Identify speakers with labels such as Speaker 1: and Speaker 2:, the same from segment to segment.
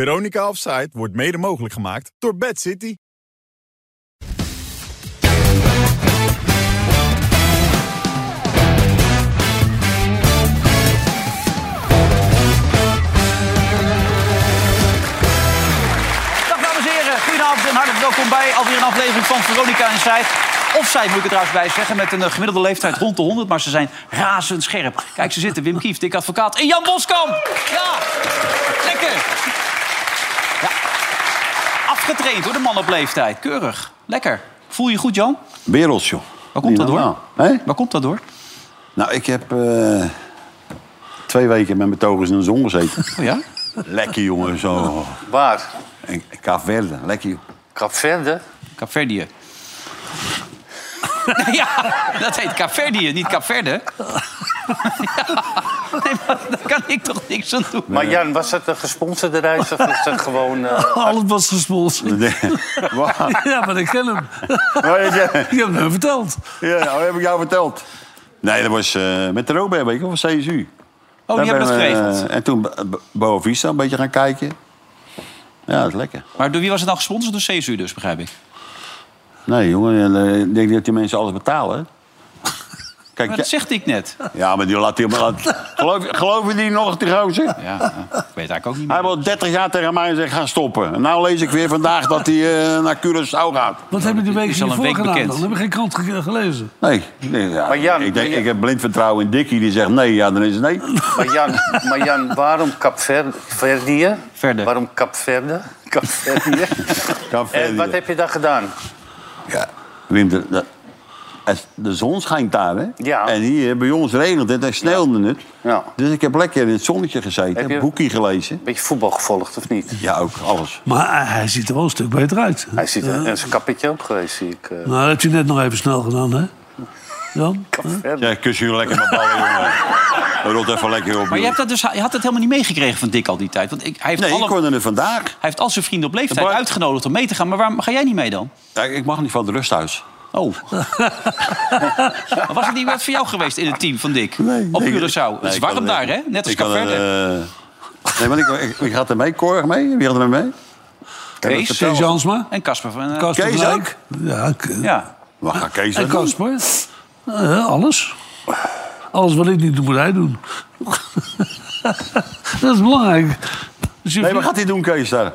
Speaker 1: Veronica Offside wordt mede mogelijk gemaakt door Bad City.
Speaker 2: Dag dames en heren, goedenavond en hartelijk welkom bij alweer een aflevering van Veronica Inside. Of zij, moet ik er trouwens bij zeggen, met een eh, gemiddelde leeftijd rond de 100, maar ze zijn razend scherp. Kijk, ze zitten, Wim Kieft, Dick Advocaat en Jan Boskamp. Ja, lekker. Ja. Afgetraind door de man op leeftijd, keurig, lekker. Voel je goed, Jan?
Speaker 3: Werelds, joh.
Speaker 2: Waar komt dat
Speaker 3: Niet
Speaker 2: door?
Speaker 3: normaal. Hè?
Speaker 2: Waar komt dat door?
Speaker 3: Nou, ik heb eh, twee weken met mijn togers in de zon gezeten.
Speaker 2: Oh ja?
Speaker 3: Lekker, jongen. Zo.
Speaker 4: Waar?
Speaker 3: En Kaapverde, lekker, joh.
Speaker 4: Kapverde?
Speaker 2: Capverdië. ja, dat heet Capverdië, niet Capverde. ja, nee, maar daar kan ik toch niks aan doen.
Speaker 4: Maar Jan, was dat een gesponsorde reis of is dat gewoon... eh,
Speaker 5: Alles was gesponsord.
Speaker 3: Waar?
Speaker 5: Ja, maar ik ken hem.
Speaker 3: Waar is jij?
Speaker 5: Ik heb hem verteld.
Speaker 3: ja, nou, heb ik jou verteld. Nee, dat was eh, met de Robert, weet je, of
Speaker 2: Oh,
Speaker 3: CSU.
Speaker 2: die
Speaker 3: Daar
Speaker 2: hebben dat
Speaker 3: ben we,
Speaker 2: geregeld.
Speaker 3: eh, en toen Bo- Bo- Boa Vista een beetje gaan kijken. Ja, dat is lekker.
Speaker 2: Maar door wie was het dan gesponsord? Door CSU dus, begrijp ik.
Speaker 3: Nee, jongen, eh, ik denk dat die mensen alles betalen. hè? Kijk,
Speaker 2: Maar
Speaker 3: ja,
Speaker 2: dat zegt ik net.
Speaker 3: ja, maar die laat die... Laat, geloof, geloof je die nog, die gozer?
Speaker 2: Ja, ja, ik weet het eigenlijk ook niet
Speaker 3: Hij
Speaker 2: meer.
Speaker 3: wil 30 jaar tegen mij zeggen, ga stoppen. En nou lees ik weer vandaag dat hij eh, naar Curaçao gaat.
Speaker 5: Wat hebben die
Speaker 2: dat
Speaker 5: week
Speaker 2: is al een
Speaker 5: hiervoor
Speaker 2: week
Speaker 5: gedaan?
Speaker 2: bekend.
Speaker 5: Dan heb ik geen krant ge- gelezen.
Speaker 3: Nee, nee, ja,
Speaker 4: Maar Jan,
Speaker 3: ik, denk,
Speaker 4: maar Jan-
Speaker 3: ik heb blind vertrouwen in Dickie, die zegt nee, ja, dan is het nee.
Speaker 4: maar, Jan, maar Jan, waarom Kapverdië?
Speaker 2: Verde.
Speaker 4: Waarom Kapverde? Kapverdië.
Speaker 3: Kan verder.
Speaker 4: en Eh, wat heb je daar gedaan?
Speaker 3: ja. Wim, de, de, het- de zon schijnt daar, hè?
Speaker 4: Ja.
Speaker 3: En hier, bij ons regent het en sneeuwde het.
Speaker 4: Ja.
Speaker 3: Dus ik heb lekker in het zonnetje gezeten,
Speaker 4: Heb
Speaker 3: heb
Speaker 4: je-
Speaker 3: een boekje gelezen.
Speaker 4: Beetje voetbal gevolgd of niet?
Speaker 3: Ja, ook, alles.
Speaker 5: Maar eh, hij- hij ziet er wel een stuk beter uit. Eh,
Speaker 4: Hij zit er en zijn kappetje op geweest, zie ik. eh.
Speaker 5: Nou, dat heb je net nog even snel gedaan, hè? Jan?
Speaker 3: Ja, ik kus jullie lekker met ballen, jongen. Rot even lekker
Speaker 2: Maar
Speaker 3: op.
Speaker 2: je,
Speaker 3: joh.
Speaker 2: hebt dat dus, je had het helemaal niet meegekregen van Dick al die tijd. Want ik, hij, heeft
Speaker 3: Nee,
Speaker 2: alle,
Speaker 3: ik hoorde het vandaag.
Speaker 2: hij heeft al zijn vrienden op leeftijd
Speaker 3: Bart-
Speaker 2: uitgenodigd om mee te gaan. Maar waarom ga jij niet mee dan?
Speaker 3: Ja, ik mag niet van het rusthuis.
Speaker 2: Oh. Maar was het niet wat voor jou geweest in het team van Dick?
Speaker 3: Nee.
Speaker 2: Op
Speaker 3: Nee, ik-
Speaker 2: Curaçao.
Speaker 3: nee,
Speaker 2: het is
Speaker 3: ik
Speaker 2: warm
Speaker 3: kan
Speaker 2: daar,
Speaker 3: er-
Speaker 2: hè? Net als
Speaker 3: ik kan eh, er,
Speaker 2: Capverde.
Speaker 3: eh, Nee, want ik, ik, ik had er mee, Korg mee. Wie had er mee?
Speaker 2: Kees.
Speaker 3: dat
Speaker 5: Kees
Speaker 3: verteld.
Speaker 5: eh, Jansma?
Speaker 2: En Casper van... eh,
Speaker 5: Casper
Speaker 3: Kees
Speaker 5: Blaak? Ja, K-
Speaker 2: Ja.
Speaker 3: Wat gaat Kees
Speaker 5: en
Speaker 3: dat doen?
Speaker 5: Casper. Eh, alles. Alles wat ik niet doe, moet hij doen. dat is belangrijk. Dus je
Speaker 3: Nee, wat gaat hij doen, Kees, daar?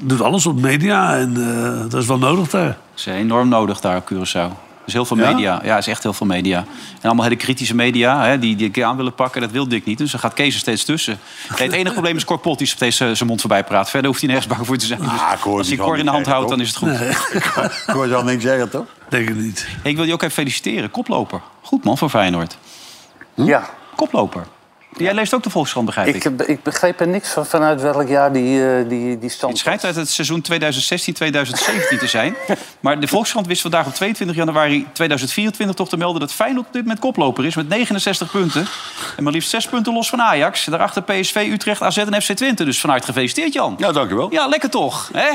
Speaker 5: doet alles op media en eh, dat is wel nodig daar.
Speaker 2: Dat is eh, enorm nodig daar op Curaçao. Er is heel veel
Speaker 3: Ja?
Speaker 2: media. Ja, er is echt heel veel media. En allemaal hele kritische media hè, die Dick aan willen pakken. Dat wil Dick niet. Dus dan gaat Kees er steeds tussen. Nee, het enige probleem is Cor Pot die steeds eh, zijn mond voorbij praat. Verder hoeft hij nergens bang voor te zijn. Dus
Speaker 3: Ah, Cor, die
Speaker 2: als hij
Speaker 3: zal
Speaker 2: Cor in de hand
Speaker 3: niet kijken,
Speaker 2: houdt,
Speaker 3: toch?
Speaker 2: dan is het goed.
Speaker 3: Ik hoor zal niks zeggen, toch?
Speaker 5: Denk ik niet.
Speaker 2: Hey, ik wil je ook even feliciteren. Koploper. Goed man voor Feyenoord.
Speaker 4: Ja,
Speaker 2: Koploper. Jij leest ook de Volkskrant, begrijp ik.
Speaker 4: ik, heb- ik begreep er niks van vanuit welk jaar die, eh, die, die stand
Speaker 2: Het schijnt uit het seizoen 2016-2017 te zijn. Maar de Volkskrant wist vandaag op 22 januari 2024 toch te melden... dat Feyenoord op dit moment koploper is met 69 punten. En maar liefst 6 punten los van Ajax. Daarachter PSV, Utrecht, AZ en FC Twente. Dus vanuit gefeliciteerd, Jan.
Speaker 3: Ja, dankjewel. Ja,
Speaker 2: Ja, lekker toch, hè?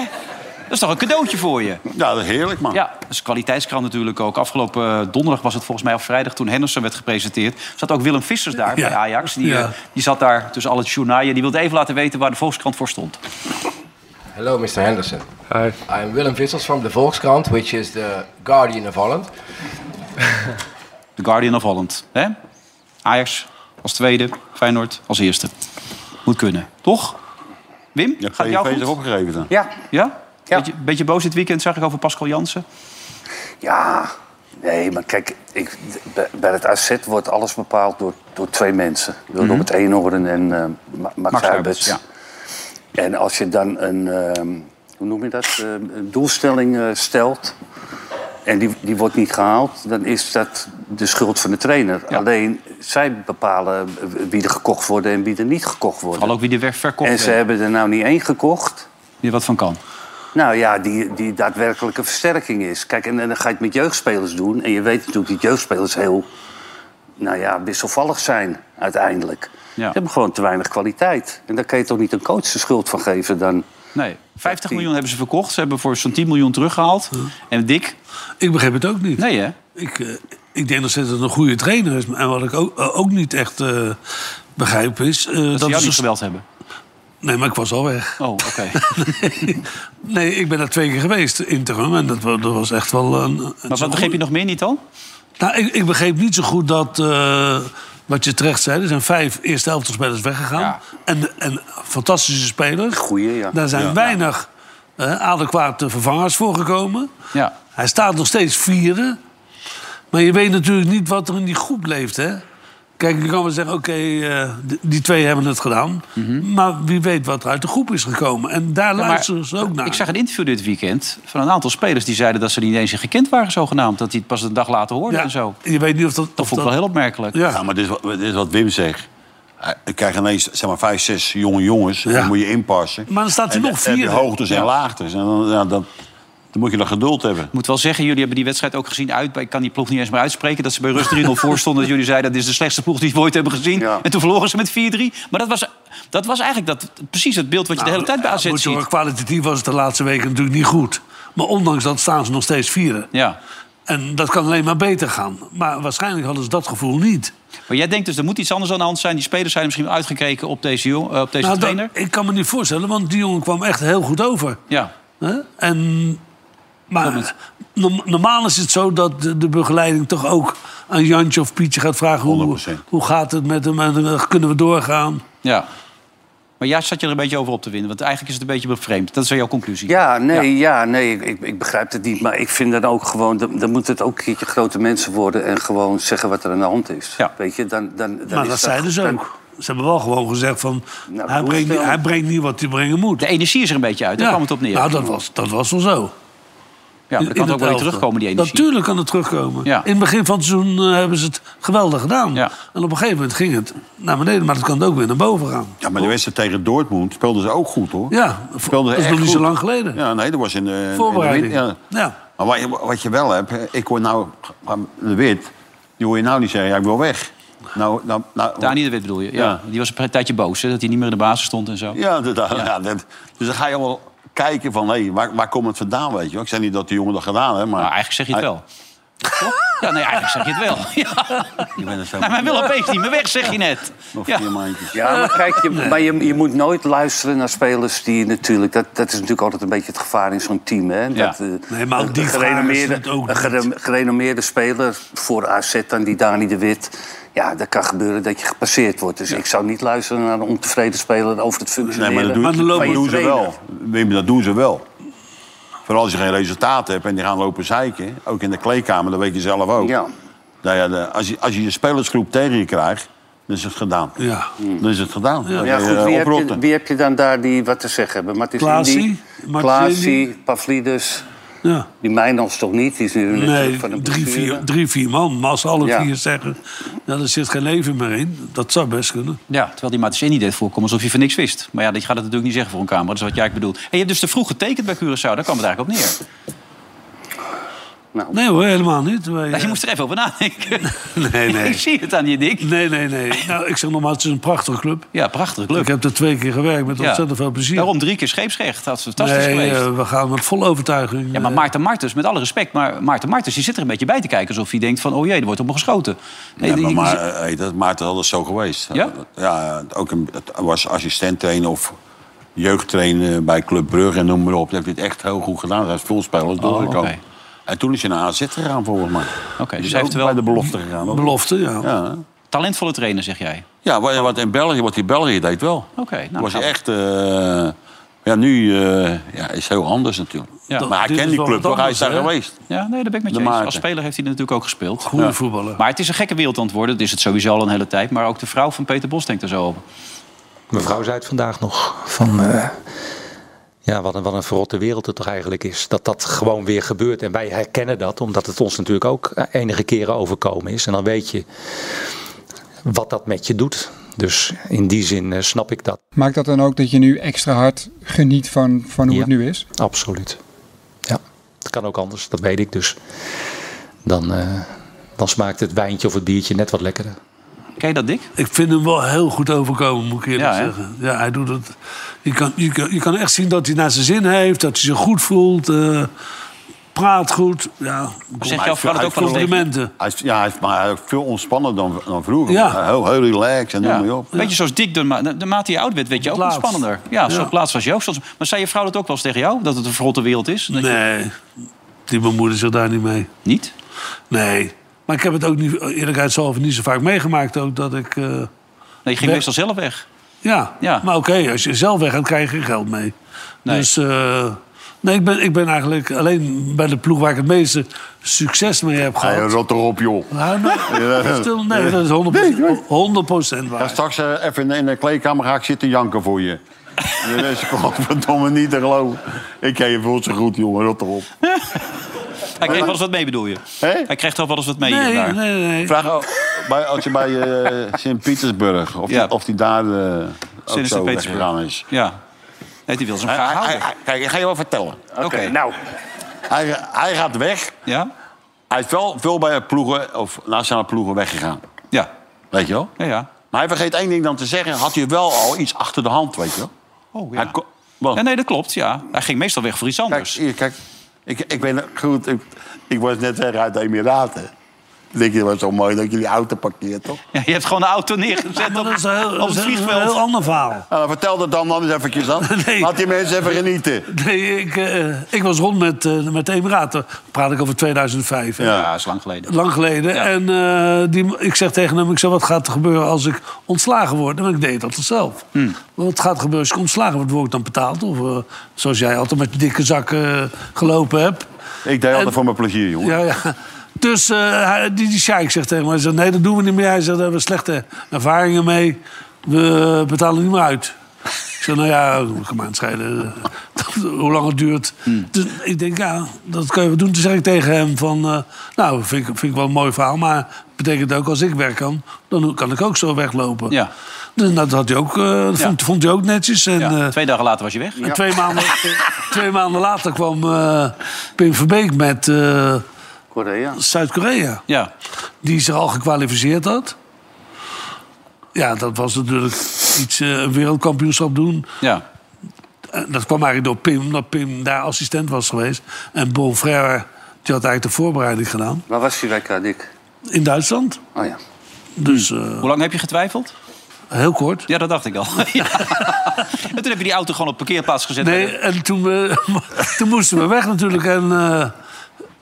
Speaker 2: Dat is toch een cadeautje voor je?
Speaker 3: dat is heerlijk, man.
Speaker 2: Ja, dat is een kwaliteitskrant natuurlijk ook. Afgelopen eh, donderdag was het volgens mij, of vrijdag, toen Henderson werd gepresenteerd. Zat ook Willem Vissers daar
Speaker 5: Ja.
Speaker 2: bij Ajax. Die,
Speaker 5: Ja.
Speaker 2: eh, die zat daar tussen al het journaaien. Die wilde even laten weten waar de Volkskrant voor stond.
Speaker 6: Hello, Mr. Henderson. Hi. I'm Willem Vissels from the Volkskrant, which is the Guardian of Holland.
Speaker 2: The Guardian of Holland. Hè? Ajax als tweede, Feyenoord als eerste. Moet kunnen, toch? Wim,
Speaker 3: Ja,
Speaker 2: gaat het jou
Speaker 3: PSV is
Speaker 2: goed?
Speaker 3: erop gegeven dan.
Speaker 4: Ja,
Speaker 2: Ja?
Speaker 4: Ja.
Speaker 2: Beetje, beetje boos dit weekend, zag ik over Pascal Jansen.
Speaker 4: Ja, nee, maar kijk, ik, bij- bij het AZ wordt alles bepaald door, door twee mensen. Door Robert Eenhoorn en eh, Ma- Max,
Speaker 2: Mhm. Max
Speaker 4: Max
Speaker 2: Huibers,
Speaker 4: En als je dan een, ehm, hoe noem je dat, eh, een doelstelling eh, stelt... en die, die wordt niet gehaald, dan is dat de schuld van de trainer.
Speaker 2: Ja.
Speaker 4: Alleen, zij bepalen eh, wie er gekocht worden en wie er niet gekocht worden.
Speaker 2: Vooral ook wie de weg verkocht
Speaker 4: en ze
Speaker 2: werd,
Speaker 4: hebben er nou niet één gekocht...
Speaker 2: die er wat van kan.
Speaker 4: Nou ja, die, die daadwerkelijk een versterking is. Kijk, en, en dan ga je het met jeugdspelers doen. En je weet natuurlijk dat jeugdspelers heel nou ja, wisselvallig zijn uiteindelijk.
Speaker 2: Ja.
Speaker 4: Ze hebben gewoon te weinig kwaliteit. En daar kan je toch niet een coach de schuld van geven dan?
Speaker 2: Nee, 50 miljoen hebben ze verkocht. Ze hebben voor zo'n 10 miljoen teruggehaald. En Dick?
Speaker 5: Ik begrijp het ook niet.
Speaker 2: Nee, hè?
Speaker 5: Ik, eh, ik denk nog steeds dat het een goede trainer is. En wat ik ook, eh, ook niet echt eh, begrijp is... eh,
Speaker 2: Dat, ze jou
Speaker 5: is
Speaker 2: niet
Speaker 5: een-
Speaker 2: geweld hebben.
Speaker 5: Nee, maar ik was al weg.
Speaker 2: Oh, oké.
Speaker 5: nee, ik ben daar twee keer geweest, interim. En dat, wa- dat was echt wel een...
Speaker 2: Maar wat begreep je nog meer niet dan?
Speaker 5: Nou, ik, ik begreep niet zo goed dat... eh, wat je terecht zei, er zijn vijf eerste helftspelers weggegaan.
Speaker 6: Ja.
Speaker 5: En, en fantastische spelers.
Speaker 4: Goeie, ja.
Speaker 5: Daar zijn weinig eh, adequate vervangers voor gekomen.
Speaker 2: Ja.
Speaker 5: Hij staat nog steeds vierde. Maar je weet natuurlijk niet wat er in die groep leeft, hè? Kijk, je kan wel zeggen, oké, eh, d- die twee hebben het gedaan. Maar wie weet wat er uit de groep is gekomen. En daar
Speaker 2: Mhm. Ja, maar
Speaker 5: luisteren ze ook naar.
Speaker 2: Ik zag een interview dit weekend van een aantal spelers die zeiden dat ze niet eens gekend waren, zogenaamd. Dat die het pas een dag later hoorden
Speaker 5: ja,
Speaker 2: en zo.
Speaker 5: Je weet niet of dat...
Speaker 2: Dat
Speaker 5: of
Speaker 2: vond ik wel heel opmerkelijk.
Speaker 5: Ja.
Speaker 3: Ja, maar dit is, wat, dit is wat Wim zegt. Hij- Ik krijg ineens zeg maar, vijf, zes jonge jongens.
Speaker 5: Ja.
Speaker 3: Dan moet je inpassen.
Speaker 5: Maar dan staat hij
Speaker 3: En
Speaker 5: nog
Speaker 3: dan heb je
Speaker 5: vierde.
Speaker 3: hoogtes en laagtes. En dan, ja, dat, dan moet je dat geduld hebben.
Speaker 2: Ik moet wel zeggen, jullie hebben die wedstrijd ook gezien uit. Ik kan die ploeg niet eens meer uitspreken. Dat ze bij rust 3-0 voor stonden. Dat jullie zeiden, dat is de slechtste ploeg die we ooit hebben gezien.
Speaker 4: Ja.
Speaker 2: En toen verloren ze met 4-3. Maar dat was, dat was eigenlijk dat, precies het beeld wat je de hele tijd bij AZ
Speaker 5: Nou, Ja, moet je horen,
Speaker 2: ziet.
Speaker 5: kwalitatief was het de laatste weken natuurlijk niet goed. Maar ondanks dat staan ze nog steeds vieren.
Speaker 2: Ja.
Speaker 5: En dat kan alleen maar beter gaan. Maar waarschijnlijk hadden ze dat gevoel niet.
Speaker 2: Maar jij denkt dus, er moet iets anders aan de hand zijn. Die spelers zijn misschien uitgekeken op deze, jong- eh, op deze
Speaker 5: Nou, dat-
Speaker 2: trainer.
Speaker 5: ik kan me niet voorstellen, want die jongen kwam echt heel goed over.
Speaker 2: Ja.
Speaker 5: Hè? En, maar norm- normaal is het zo dat de, de begeleiding toch ook aan Jantje of Pietje gaat vragen... Hoe,
Speaker 3: 100%.
Speaker 5: hoe gaat het met hem en eh, kunnen we doorgaan?
Speaker 2: ja. Maar jij zat je er een beetje over op te winnen. Want eigenlijk is het een beetje bevreemd. Dat is wel jouw conclusie.
Speaker 4: Ja, nee, ja. nee ik, ik, ik begrijp het niet. Maar ik vind dan ook gewoon... Dan, dan moet het ook een keertje grote mensen worden... en gewoon zeggen wat er aan de hand is.
Speaker 2: Ja.
Speaker 4: Weet je, dan, dan, dan
Speaker 5: maar
Speaker 4: is
Speaker 5: dat zeiden ze
Speaker 4: dan-
Speaker 5: ook. Ze hebben wel gewoon gezegd van...
Speaker 4: Nou,
Speaker 5: hij,
Speaker 4: doe
Speaker 5: brengt,
Speaker 4: het
Speaker 5: niet-
Speaker 4: wel.
Speaker 5: hij brengt niet wat hij brengen moet.
Speaker 2: De energie is er een beetje uit. Daar kwam het op neer.
Speaker 5: Nou, dat was, dat was wel zo.
Speaker 2: ja, maar dat kan ook wel weer terugkomen, die energie.
Speaker 5: Natuurlijk kan het terugkomen.
Speaker 2: Ja.
Speaker 5: In het begin van het seizoen eh, hebben ze het geweldig gedaan.
Speaker 2: Ja.
Speaker 5: En op een gegeven moment ging het naar beneden, maar het kan ook weer naar boven gaan.
Speaker 3: Ja, maar de wedstrijd tegen Dortmund speelden ze ook goed, hoor.
Speaker 5: Ja, v-
Speaker 3: Speelden ze
Speaker 5: dat is
Speaker 3: echt
Speaker 5: nog niet zo
Speaker 3: goed.
Speaker 5: lang geleden.
Speaker 3: Ja, nee, dat was in de... in de
Speaker 5: Voorbereiding.
Speaker 3: win- ja.
Speaker 5: Ja.
Speaker 3: Maar wat je, wat je wel hebt... Ik hoor nou... De Wit, die hoor je nou niet zeggen... Ja, ik wil weg. Nou, nou, nou,
Speaker 2: Dani de Wit bedoel je? Ja.
Speaker 3: Ja.
Speaker 2: Die was een tijdje boos, hè, dat hij niet meer in de basis stond en zo.
Speaker 3: Ja, dat, ja, dat- dus dan ga je allemaal kijken van... Hé, waar, waar komt het vandaan, weet je wel? Ik zei niet dat die jongen dat gedaan heeft, maar...
Speaker 2: Nou, eigenlijk zeg je het wel. Toch? Ja, nee, eigenlijk zeg je het wel. Ja.
Speaker 3: Ik ben er zo...
Speaker 2: Nee, maar hij wil opeens niet meer weg, zeg je net.
Speaker 3: Nog
Speaker 2: Ja.
Speaker 3: vier maandjes.
Speaker 4: Ja, maar kijk, je, maar je, je moet nooit luisteren naar spelers die natuurlijk... Dat, dat is natuurlijk altijd een beetje het gevaar in zo'n team. Hè? Dat, eh,
Speaker 5: Nee, maar ook
Speaker 4: een
Speaker 5: die vragen
Speaker 4: gerenommeerde-
Speaker 5: ze het ook
Speaker 4: Een gere- gerenommeerde speler voor AZ, dan die Dani de Wit... Ja, dat kan gebeuren dat je gepasseerd wordt. Dus ik zou niet luisteren naar een ontevreden speler over het
Speaker 3: Nee,
Speaker 4: functioneren.
Speaker 3: maar dat doen,
Speaker 5: Maar dan lopen
Speaker 3: dat
Speaker 5: je
Speaker 3: doen ze
Speaker 4: trainer.
Speaker 3: wel. Wim, dat doen ze wel. Vooral als je geen resultaat hebt en die gaan lopen zeiken. Ook in de kleedkamer, dat weet je zelf ook.
Speaker 4: Ja.
Speaker 3: Nou ja, de- als, je, als je je spelersgroep tegen je krijgt, dan is het gedaan.
Speaker 5: Ja.
Speaker 3: Dan is het gedaan. Dan
Speaker 4: Ja,
Speaker 3: ben
Speaker 4: goed,
Speaker 3: je, eh,
Speaker 4: wie, heb je,
Speaker 3: oprotten.
Speaker 4: wie heb je dan daar die wat te zeggen hebben? Martins
Speaker 5: Klaasie,
Speaker 4: Indy,
Speaker 5: Martins Indy.
Speaker 4: Klaasie, Pavlidis.
Speaker 5: Ja.
Speaker 4: Die Mijnans toch niet? Die is nu
Speaker 5: Nee,
Speaker 4: natuurlijk eh, van een
Speaker 5: drie
Speaker 4: blessure.
Speaker 5: vier, drie, vier man. Maar als ze alle
Speaker 4: Ja.
Speaker 5: vier zeggen, nou, er zit geen leven meer in. Dat zou best kunnen.
Speaker 2: Ja, terwijl die Matisini deed voorkomen alsof hij van niks wist. Maar ja, dat je gaat het natuurlijk niet zeggen voor een camera. Dat is wat jij eigenlijk bedoelt. En je hebt dus te vroeg getekend bij Curaçao. Daar kwam het eigenlijk op neer.
Speaker 5: Nee hoor, helemaal niet. Wij,
Speaker 2: Nou,
Speaker 5: eh,
Speaker 2: je moest er even over nadenken.
Speaker 5: Nee, nee.
Speaker 2: Ik zie het aan je, Dick.
Speaker 5: Nee, nee, nee. Nou, ik zeg nogmaals, het is een prachtige club.
Speaker 2: Ja, prachtig. Leuk.
Speaker 5: Ik heb er twee keer gewerkt met
Speaker 2: Ja.
Speaker 5: ontzettend veel plezier.
Speaker 2: Daarom drie keer scheepsrecht. Dat is fantastisch
Speaker 5: nee,
Speaker 2: geweest.
Speaker 5: eh, we gaan met volle overtuiging.
Speaker 2: Ja, maar
Speaker 5: eh,
Speaker 2: Maarten Martens, met alle respect, maar Maarten Martens die zit er een beetje bij te kijken alsof hij denkt van, oh jee, er wordt op me geschoten. Nee,
Speaker 3: Ja,
Speaker 2: die-
Speaker 3: maar
Speaker 2: die-
Speaker 3: maar, eh, hey, dat, Maarten had het zo geweest.
Speaker 2: Ja?
Speaker 3: Ja, ook een, het was assistent trainen of jeugdtrainen bij Club Brugge en noem maar op. Dat heeft dit echt heel goed gedaan. Hij is veel spelers doorgekomen.
Speaker 2: Oh, oké.
Speaker 3: En toen is hij naar AZ gegaan, volgens mij.
Speaker 2: Oké, dus
Speaker 3: Is
Speaker 2: hij heeft
Speaker 3: ook
Speaker 2: wel
Speaker 3: bij de belofte gegaan. ook.
Speaker 5: eh, Belofte, ja.
Speaker 3: Ja,
Speaker 2: talentvolle trainer, zeg jij.
Speaker 3: ja wat, wat in België, wat die België deed wel.
Speaker 2: Oké, nou,
Speaker 3: was
Speaker 2: gaan
Speaker 3: hij
Speaker 2: we-
Speaker 3: echt... eh, ja, nu eh, ja, is heel anders natuurlijk.
Speaker 2: Ja.
Speaker 3: maar hij
Speaker 5: Dit
Speaker 3: kent
Speaker 5: is
Speaker 3: die
Speaker 5: wel
Speaker 3: club,
Speaker 5: wat
Speaker 3: toch? Hij is daar
Speaker 5: anders, hè?
Speaker 3: geweest.
Speaker 2: Ja, nee, dat ben ik met
Speaker 3: De
Speaker 2: je eens. Als
Speaker 3: Maarten.
Speaker 2: speler heeft hij er natuurlijk ook gespeeld.
Speaker 5: Goede voetballer.
Speaker 2: Maar het is een gekke wereld aan het worden. Dat is het sowieso al een hele tijd. Maar ook de vrouw van Peter Bos denkt er zo over.
Speaker 7: Mijn vrouw zei het vandaag nog. Van, eh, ja, wat, een, wat een verrotte wereld het toch eigenlijk is. Dat dat gewoon weer gebeurt. En wij herkennen dat, omdat het ons natuurlijk ook eh, enige keren overkomen is. En dan weet je wat dat met je doet. Dus in die zin eh, snap ik dat.
Speaker 8: Maakt dat dan ook dat je nu extra hard geniet van, van hoe
Speaker 7: Ja.
Speaker 8: het nu is?
Speaker 7: Absoluut. Ja, het kan ook anders, dat weet ik dus. Dan, eh, dan smaakt het wijntje of het biertje net wat lekkerder.
Speaker 2: Ken je dat, Dick?
Speaker 5: Ik vind hem wel heel goed overkomen, moet ik eerlijk
Speaker 2: Ja, hè?
Speaker 5: zeggen. Ja, hij doet het. Je kan, je, kan, je kan echt zien dat hij naar zijn zin heeft, dat hij zich goed voelt. eh, praat goed. Ja,
Speaker 2: Zeg jou vooral het ook van ons tegen?
Speaker 5: complimenten.
Speaker 3: Hij is, ja, hij is maar hij is veel ontspannen dan, dan vroeger. Eh,
Speaker 5: Ja.
Speaker 3: Heel, heel relaxed en
Speaker 2: Ja.
Speaker 3: noem maar op.
Speaker 2: Beetje zoals Dick, de, ma- de mate je oud werd, werd je ook
Speaker 5: Plaats.
Speaker 2: spannender. Ja, zo
Speaker 5: Ja.
Speaker 2: plaats was je ook. Zoals, maar zei je vrouw dat ook wel eens tegen jou? Dat het een verrotte wereld is? Dat je-
Speaker 5: Nee, die bemoeide zich daar niet mee.
Speaker 2: Niet?
Speaker 5: Nee. Maar ik heb het ook niet, eerlijkheidshalve niet zo vaak meegemaakt ook dat ik... eh,
Speaker 2: Nee, je ging
Speaker 5: Nee.
Speaker 2: meestal zelf weg.
Speaker 5: ja.
Speaker 2: Ja.
Speaker 5: maar oké, als je zelf weggaat, krijg je geen geld mee.
Speaker 2: Nee.
Speaker 5: Dus eh, nee, ik ben, ik ben eigenlijk alleen bij de ploeg waar ik het meeste succes mee heb
Speaker 3: Hij
Speaker 5: gehad.
Speaker 3: rot toch op, joh.
Speaker 5: Hou nou- Stil, nee, dat is 100%, 100%
Speaker 3: Ja,
Speaker 5: waar.
Speaker 3: straks eh, even in de- in de kleedkamer ga ik zitten janken voor je. Dat is godverdomme niet te geloven. Ik ken je veel zo goed, jongen. Rot toch op.
Speaker 2: Hij kreeg wel eens wat mee, bedoel je?
Speaker 3: Hé?
Speaker 2: Hij kreeg toch wel eens wat mee? hier en
Speaker 5: Nee,
Speaker 2: daar.
Speaker 5: nee, nee.
Speaker 3: Vraag oh, bij, als je bij eh, Sint-Pietersburg, of,
Speaker 2: Ja.
Speaker 3: die, of die daar eh ook zo
Speaker 2: Sint-Petersburg.
Speaker 3: weggegaan is.
Speaker 2: Ja. Nee, die wilde ze hem graag
Speaker 3: Hij- hij-
Speaker 2: houden.
Speaker 3: hij- Kijk, ik ga je wel vertellen.
Speaker 2: Oké.
Speaker 4: Nou,
Speaker 3: Hij, hij gaat weg.
Speaker 2: Ja?
Speaker 3: Hij is wel veel bij ploegen, of nationale ploegen weggegaan.
Speaker 2: Ja.
Speaker 3: Weet je wel?
Speaker 2: Ja, ja.
Speaker 3: Maar hij vergeet één ding dan te zeggen. Had hij wel al iets achter de hand, weet je wel?
Speaker 2: Oh,
Speaker 3: Hij
Speaker 2: ja.
Speaker 3: ko- want-
Speaker 2: ja. Nee, dat klopt, ja. Hij ging meestal weg voor iets
Speaker 3: Kijk,
Speaker 2: anders.
Speaker 3: hier, kijk. Ik, ik ben goed. Ik, ik was net weg uit de Emiraten. Ik denk, het was zo mooi dat jullie auto parkeert, toch?
Speaker 2: Ja, je hebt gewoon de auto neergezet
Speaker 5: Maar
Speaker 2: op,
Speaker 5: dat is een heel,
Speaker 2: op
Speaker 5: dat is
Speaker 2: het
Speaker 5: een heel-
Speaker 2: vliegveld.
Speaker 5: heel ander verhaal.
Speaker 3: Nou, vertel dat dan dan eens eventjes dan.
Speaker 5: Nee.
Speaker 3: Laat die mensen even genieten.
Speaker 5: Nee, ik, eh, ik was rond met, eh, met de Emiraten. praat ik over 2005. hè.
Speaker 2: Ja, is lang geleden.
Speaker 5: Lang geleden.
Speaker 2: Ja.
Speaker 5: En eh, die, ik zeg tegen hem, ik zeg, wat gaat er gebeuren als ik ontslagen word? En ik deed dat zelf. Wat gaat er gebeuren als ik ontslagen word? Word ik dan betaald? Of eh, zoals jij altijd met dikke zakken eh, gelopen hebt?
Speaker 3: Ik deed altijd voor mijn plezier, jongen.
Speaker 5: Ja, ja. Dus eh, hij- die, die Sjaik zegt tegen mij, hij zegt, nee, dat doen we niet meer. Hij zegt, daar hebben we slechte ervaringen mee. We betalen niet meer uit. Ik zeg, nou ja, dat kan maar aan het schelen. Hoe lang het duurt.
Speaker 2: Hmm.
Speaker 5: Dus ik denk, ja, dat kun je wel doen. Toen zeg ik tegen hem van, eh, nou, vind ik, vind ik wel een mooi verhaal. Maar betekent ook, als ik weg kan, dan kan ik ook zo weglopen.
Speaker 2: Ja.
Speaker 5: Dus dat had hij ook, eh, vond, vond hij ook netjes. En,
Speaker 2: Ja.
Speaker 5: eh,
Speaker 2: Twee dagen later was je weg.
Speaker 5: en twee, maanden, twee maanden later kwam eh, Pim Verbeek met eh,
Speaker 4: Korea.
Speaker 5: Zuid-Korea.
Speaker 2: Ja.
Speaker 5: Die zich al gekwalificeerd had. Ja, dat was natuurlijk iets, eh, een wereldkampioenschap doen.
Speaker 2: Ja.
Speaker 5: Eh, dat kwam eigenlijk door Pim, omdat Pim daar assistent was geweest. En Bonfrère, die had eigenlijk de voorbereiding gedaan.
Speaker 4: Waar was hij bij Kadik?
Speaker 5: In Duitsland.
Speaker 4: Oh ja.
Speaker 5: Dus eh,
Speaker 2: Hoe lang heb je getwijfeld?
Speaker 5: heel kort.
Speaker 2: Ja, dat dacht ik al. Ja. En toen heb je die auto gewoon op parkeerplaats gezet.
Speaker 5: Nee, en toen, we, toen moesten we weg natuurlijk. En eh,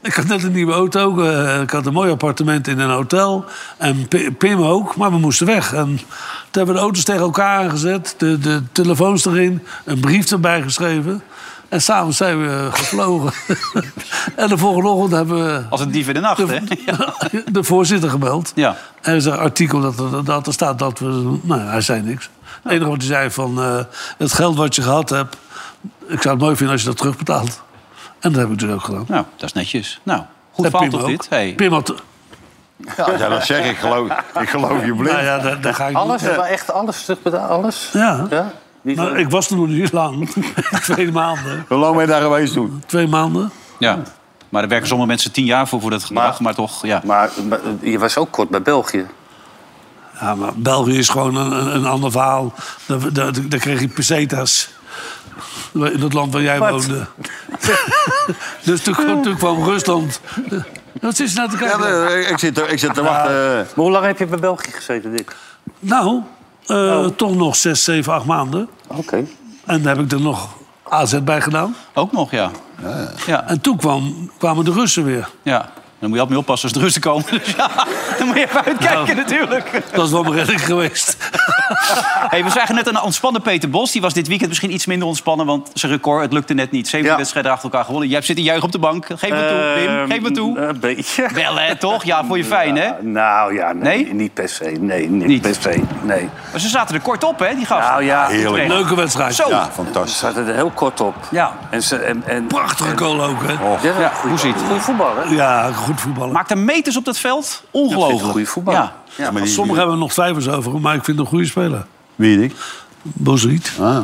Speaker 5: ik had net een nieuwe auto. eh, ik had een mooi appartement in een hotel. En P- Pim ook, maar we moesten weg. En toen hebben we de auto's tegen elkaar gezet. De, de telefoons erin. Een brief erbij geschreven. En s'avonds zijn we eh, gevlogen. en de volgende ochtend hebben we
Speaker 2: Als een dief in de nacht, hè?
Speaker 5: de, de voorzitter gebeld.
Speaker 2: Ja.
Speaker 5: Er is een artikel dat er, dat er staat dat we... Nou, hij zei niks. Het enige wat hij zei van... eh, het geld wat je gehad hebt... Ik zou het mooi vinden als je dat terugbetaalt. En dat heb ik dus ook gedaan.
Speaker 2: Nou, dat is netjes. Nou, goed
Speaker 5: En
Speaker 2: verhaal
Speaker 5: Pim
Speaker 2: toch
Speaker 5: ook.
Speaker 2: dit? Hey.
Speaker 5: Pim had...
Speaker 3: Ja, dat zeg ik. Ik Geloof, ik geloof je blind.
Speaker 5: Nou ja, daar, daar ga ik
Speaker 4: Alles?
Speaker 5: niet-
Speaker 4: Maar echt alles terugbetaald? Alles?
Speaker 5: Ja.
Speaker 4: Ja? Niet
Speaker 5: Maar ik was er nog niet lang. twee maanden.
Speaker 3: Hoe lang ben je daar geweest toen?
Speaker 5: Twee maanden.
Speaker 2: Ja. Maar er werken sommige mensen tien jaar voor, voor dat gedrag. Maar, toch, ja.
Speaker 4: Maar, maar je was ook kort bij België.
Speaker 5: Ja, maar België is gewoon een, een, een ander verhaal. Daar, daar, daar kreeg je pesetas. In het land waar jij woonde. dus toen, kwam- toen kwam Rusland. Wat is nou te
Speaker 3: Ja,
Speaker 5: kijken?
Speaker 3: de- ik, zit, er- ik zit te wachten.
Speaker 4: Maar hoe lang heb je bij België gezeten, Dick?
Speaker 5: Nou, eh,
Speaker 3: Oh.
Speaker 5: toch nog zes, zeven, acht maanden.
Speaker 4: Oké.
Speaker 5: En daar heb ik er nog AZ bij gedaan.
Speaker 2: Ook nog, ja. Ja,
Speaker 5: En toen kwam, kwamen de Russen weer.
Speaker 2: ja. Dan moet je altijd mee oppassen als de Russen komen. Dus ja, dan moet je even
Speaker 5: Nou.
Speaker 2: uitkijken natuurlijk.
Speaker 5: Dat is wel mijn redding geweest.
Speaker 2: Hey, we zagen net een ontspannen Peter Bos. Die was dit weekend misschien iets minder ontspannen, want zijn record, het lukte net niet. Zeven
Speaker 4: Ja.
Speaker 2: wedstrijden achter elkaar gewonnen. Jij zit een juich op de bank. Geef me toe,
Speaker 3: Ehm,
Speaker 2: Wim. Geef me
Speaker 3: eh.
Speaker 2: toe.
Speaker 4: Ehm, Een beetje.
Speaker 2: Wel, hè, toch? Ja, vond je fijn, hè?
Speaker 4: Ja, nou ja, nee,
Speaker 2: Nee?
Speaker 4: Niet per se. Nee, niet,
Speaker 2: Niet.
Speaker 4: per se. Nee.
Speaker 2: Maar ze zaten er kort op, hè, die gasten.
Speaker 4: Nou ja, ze
Speaker 3: Heerlijk.
Speaker 5: Leuke wedstrijd.
Speaker 2: Zo.
Speaker 3: Ja,
Speaker 2: Ja.
Speaker 3: fantastisch.
Speaker 4: zaten er heel kort op.
Speaker 2: ja.
Speaker 4: En ze, en, en,
Speaker 5: Prachtige goal ook, hè?
Speaker 4: Ja,
Speaker 2: Ja,
Speaker 4: goeie-
Speaker 2: hoe ziet-
Speaker 4: Goeie voetbal, hè?
Speaker 5: Ja, goed voetballen.
Speaker 2: Maakt er meters op dat veld?
Speaker 4: Ik vind
Speaker 2: Ongelooflijk.
Speaker 4: het goede voetbal.
Speaker 2: Ja.
Speaker 3: Ja, maar die-
Speaker 5: Sommigen hebben er nog twijfels over, maar ik vind hem een goede speler.
Speaker 3: Wie ik?
Speaker 5: Boziet.
Speaker 3: Ah. Ik,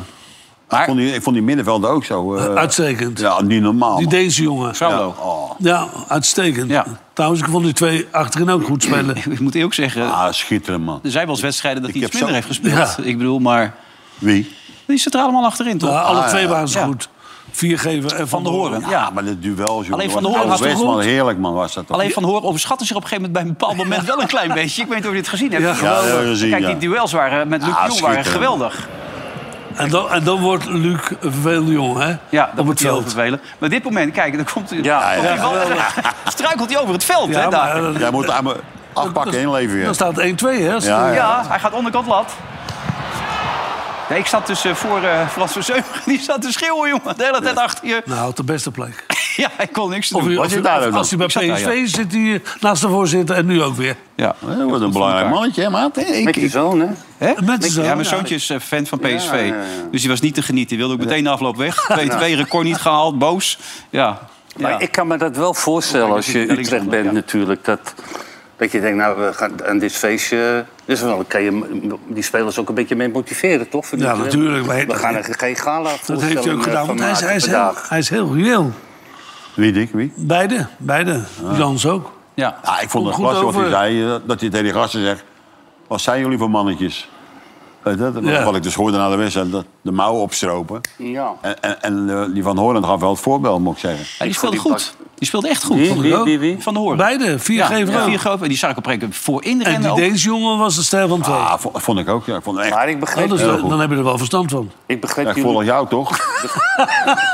Speaker 2: Maar-
Speaker 3: vond die, ik vond die middenvelden ook zo. eh,
Speaker 5: Uitstekend.
Speaker 3: ja, niet normaal.
Speaker 5: Die
Speaker 3: man.
Speaker 5: Deense jongen.
Speaker 2: Saulo.
Speaker 5: Ja, uitstekend.
Speaker 2: Ja.
Speaker 5: Trouwens, ik vond die twee achterin ook goed spelen.
Speaker 2: Ik moet ook zeggen, er
Speaker 3: Ah, schitterend, man.
Speaker 2: zijn wel eens wedstrijden dat
Speaker 3: Ik
Speaker 2: hij iets
Speaker 3: heb
Speaker 2: minder
Speaker 3: zo-
Speaker 2: heeft gespeeld. Ik bedoel, maar
Speaker 3: Wie?
Speaker 2: die zit er allemaal achterin, toch?
Speaker 5: Ja, alle twee waren ze
Speaker 2: Ja.
Speaker 5: goed. Viergever en Van,
Speaker 2: Van der Horen. Ja,
Speaker 3: maar dit duel, jongen.
Speaker 2: Alleen Van der
Speaker 3: was-
Speaker 2: Hoorn
Speaker 3: Alex
Speaker 2: had
Speaker 3: Westman,
Speaker 2: goed.
Speaker 3: heerlijk man was dat. toch?
Speaker 2: Alleen Van Hoorn overschatten zich op een gegeven moment bij een bepaald moment wel een klein beetje. Ik weet niet of je dit gezien hebt.
Speaker 5: Ja,
Speaker 3: Ja, dat hebben we gezien,
Speaker 2: Kijk, die
Speaker 3: ja.
Speaker 2: duels waren met Luc
Speaker 3: Ja,
Speaker 2: Jong waren
Speaker 3: schitterend.
Speaker 2: geweldig.
Speaker 5: En dan, en dan wordt Luc een vervelende jongen, hè?
Speaker 2: Ja, dat
Speaker 5: op
Speaker 2: moet
Speaker 5: het
Speaker 2: hij heel
Speaker 5: veld.
Speaker 2: vervelen. Maar dit moment, kijk, dan komt hij...
Speaker 4: Ja,
Speaker 2: komt hij wel- struikelt hij over het veld, hè,
Speaker 5: Ja,
Speaker 2: daar.
Speaker 5: maar, eh,
Speaker 3: Jij moet aan me afpakken en inleveren.
Speaker 5: dan staat 1-2, hè? als-
Speaker 3: Ja, ja.
Speaker 2: Ja, hij gaat onderkant lat. Nee, ik zat dus eh, voor eh Frans Verzeugen. Die zat te schreeuwen, jongen. De hele tijd achter je.
Speaker 5: Nou, op de beste plek.
Speaker 2: Ja, ik kon niks
Speaker 5: Of,
Speaker 2: doen.
Speaker 5: u-
Speaker 3: was
Speaker 5: of
Speaker 3: je
Speaker 5: u-
Speaker 3: daar
Speaker 5: of-
Speaker 3: ook
Speaker 5: als hij bij
Speaker 2: nog? Ik zat
Speaker 5: PSV
Speaker 2: daar,
Speaker 5: zit, hij naast de voorzitter en nu ook weer.
Speaker 2: Ja.
Speaker 3: Ja, Dat wordt Eh, een belangrijk mannetje, hè, maat? Ik-
Speaker 4: Met je zoon, hè?
Speaker 2: Hè?
Speaker 5: Met zijn
Speaker 2: ja,
Speaker 5: zoon,
Speaker 2: mijn
Speaker 5: ja.
Speaker 2: zoontje is eh, fan van PSV.
Speaker 4: Ja, ja, ja.
Speaker 2: Dus die was niet te genieten. Die wilde ook meteen de afloop weg. 2-2, record niet gehaald, boos. Ja.
Speaker 4: Maar
Speaker 2: ja.
Speaker 4: ik kan me dat wel voorstellen als je
Speaker 2: Links-
Speaker 4: Utrecht bent
Speaker 2: ja.
Speaker 4: natuurlijk. Dat, dat je denkt, nou, we gaan aan dit feestje... Dus dan kan je m- die spelers ook een beetje mee motiveren, toch? Voor
Speaker 5: Ja,
Speaker 4: Utrecht.
Speaker 5: natuurlijk, maar-
Speaker 4: We gaan er geen gala eh,
Speaker 5: Dat heeft hij ook gedaan, want hij is, hij is, heel,
Speaker 4: vandaag.
Speaker 5: hij is heel reëel.
Speaker 3: Wie, Dick, wie?
Speaker 5: Beide, beide. Jans ook.
Speaker 2: ja.
Speaker 3: Ja, ik vond het
Speaker 5: Komt
Speaker 3: glas
Speaker 5: goed
Speaker 3: wat hij
Speaker 5: over.
Speaker 3: zei, eh, dat hij tegen die gasten zegt... Wat zijn jullie voor mannetjes? Weet je dat?
Speaker 5: Ja.
Speaker 3: Wat ik dus hoorde na de wedstrijd, dat de mouwen opstropen.
Speaker 4: Ja.
Speaker 3: En, en, en eh, die Van Hoorn gaf wel het voorbeeld, moet ik zeggen.
Speaker 2: Ja, die speelde
Speaker 4: vond die
Speaker 2: goed. Die speelde echt goed.
Speaker 4: Wie,
Speaker 2: vond ik
Speaker 4: wie,
Speaker 2: ook.
Speaker 4: wie, wie?
Speaker 2: Van de Hoorn.
Speaker 5: Beide,
Speaker 2: Ja,
Speaker 5: viergever
Speaker 2: ja,
Speaker 5: ook.
Speaker 2: vier grote. En die zag ik op een gegeven moment voor
Speaker 5: En
Speaker 2: inrennen
Speaker 5: die
Speaker 2: ook.
Speaker 5: Deens jongen was de ster van twee.
Speaker 3: Ah, vo- vond ik ook, ja. Ik vond het echt...
Speaker 4: Maar ik begreep,
Speaker 5: Anders,
Speaker 3: heel
Speaker 5: dan,
Speaker 3: goed.
Speaker 5: dan heb je er wel verstand van.
Speaker 4: ik, begreep
Speaker 3: Ja,
Speaker 4: die,
Speaker 3: ik volg jou toch?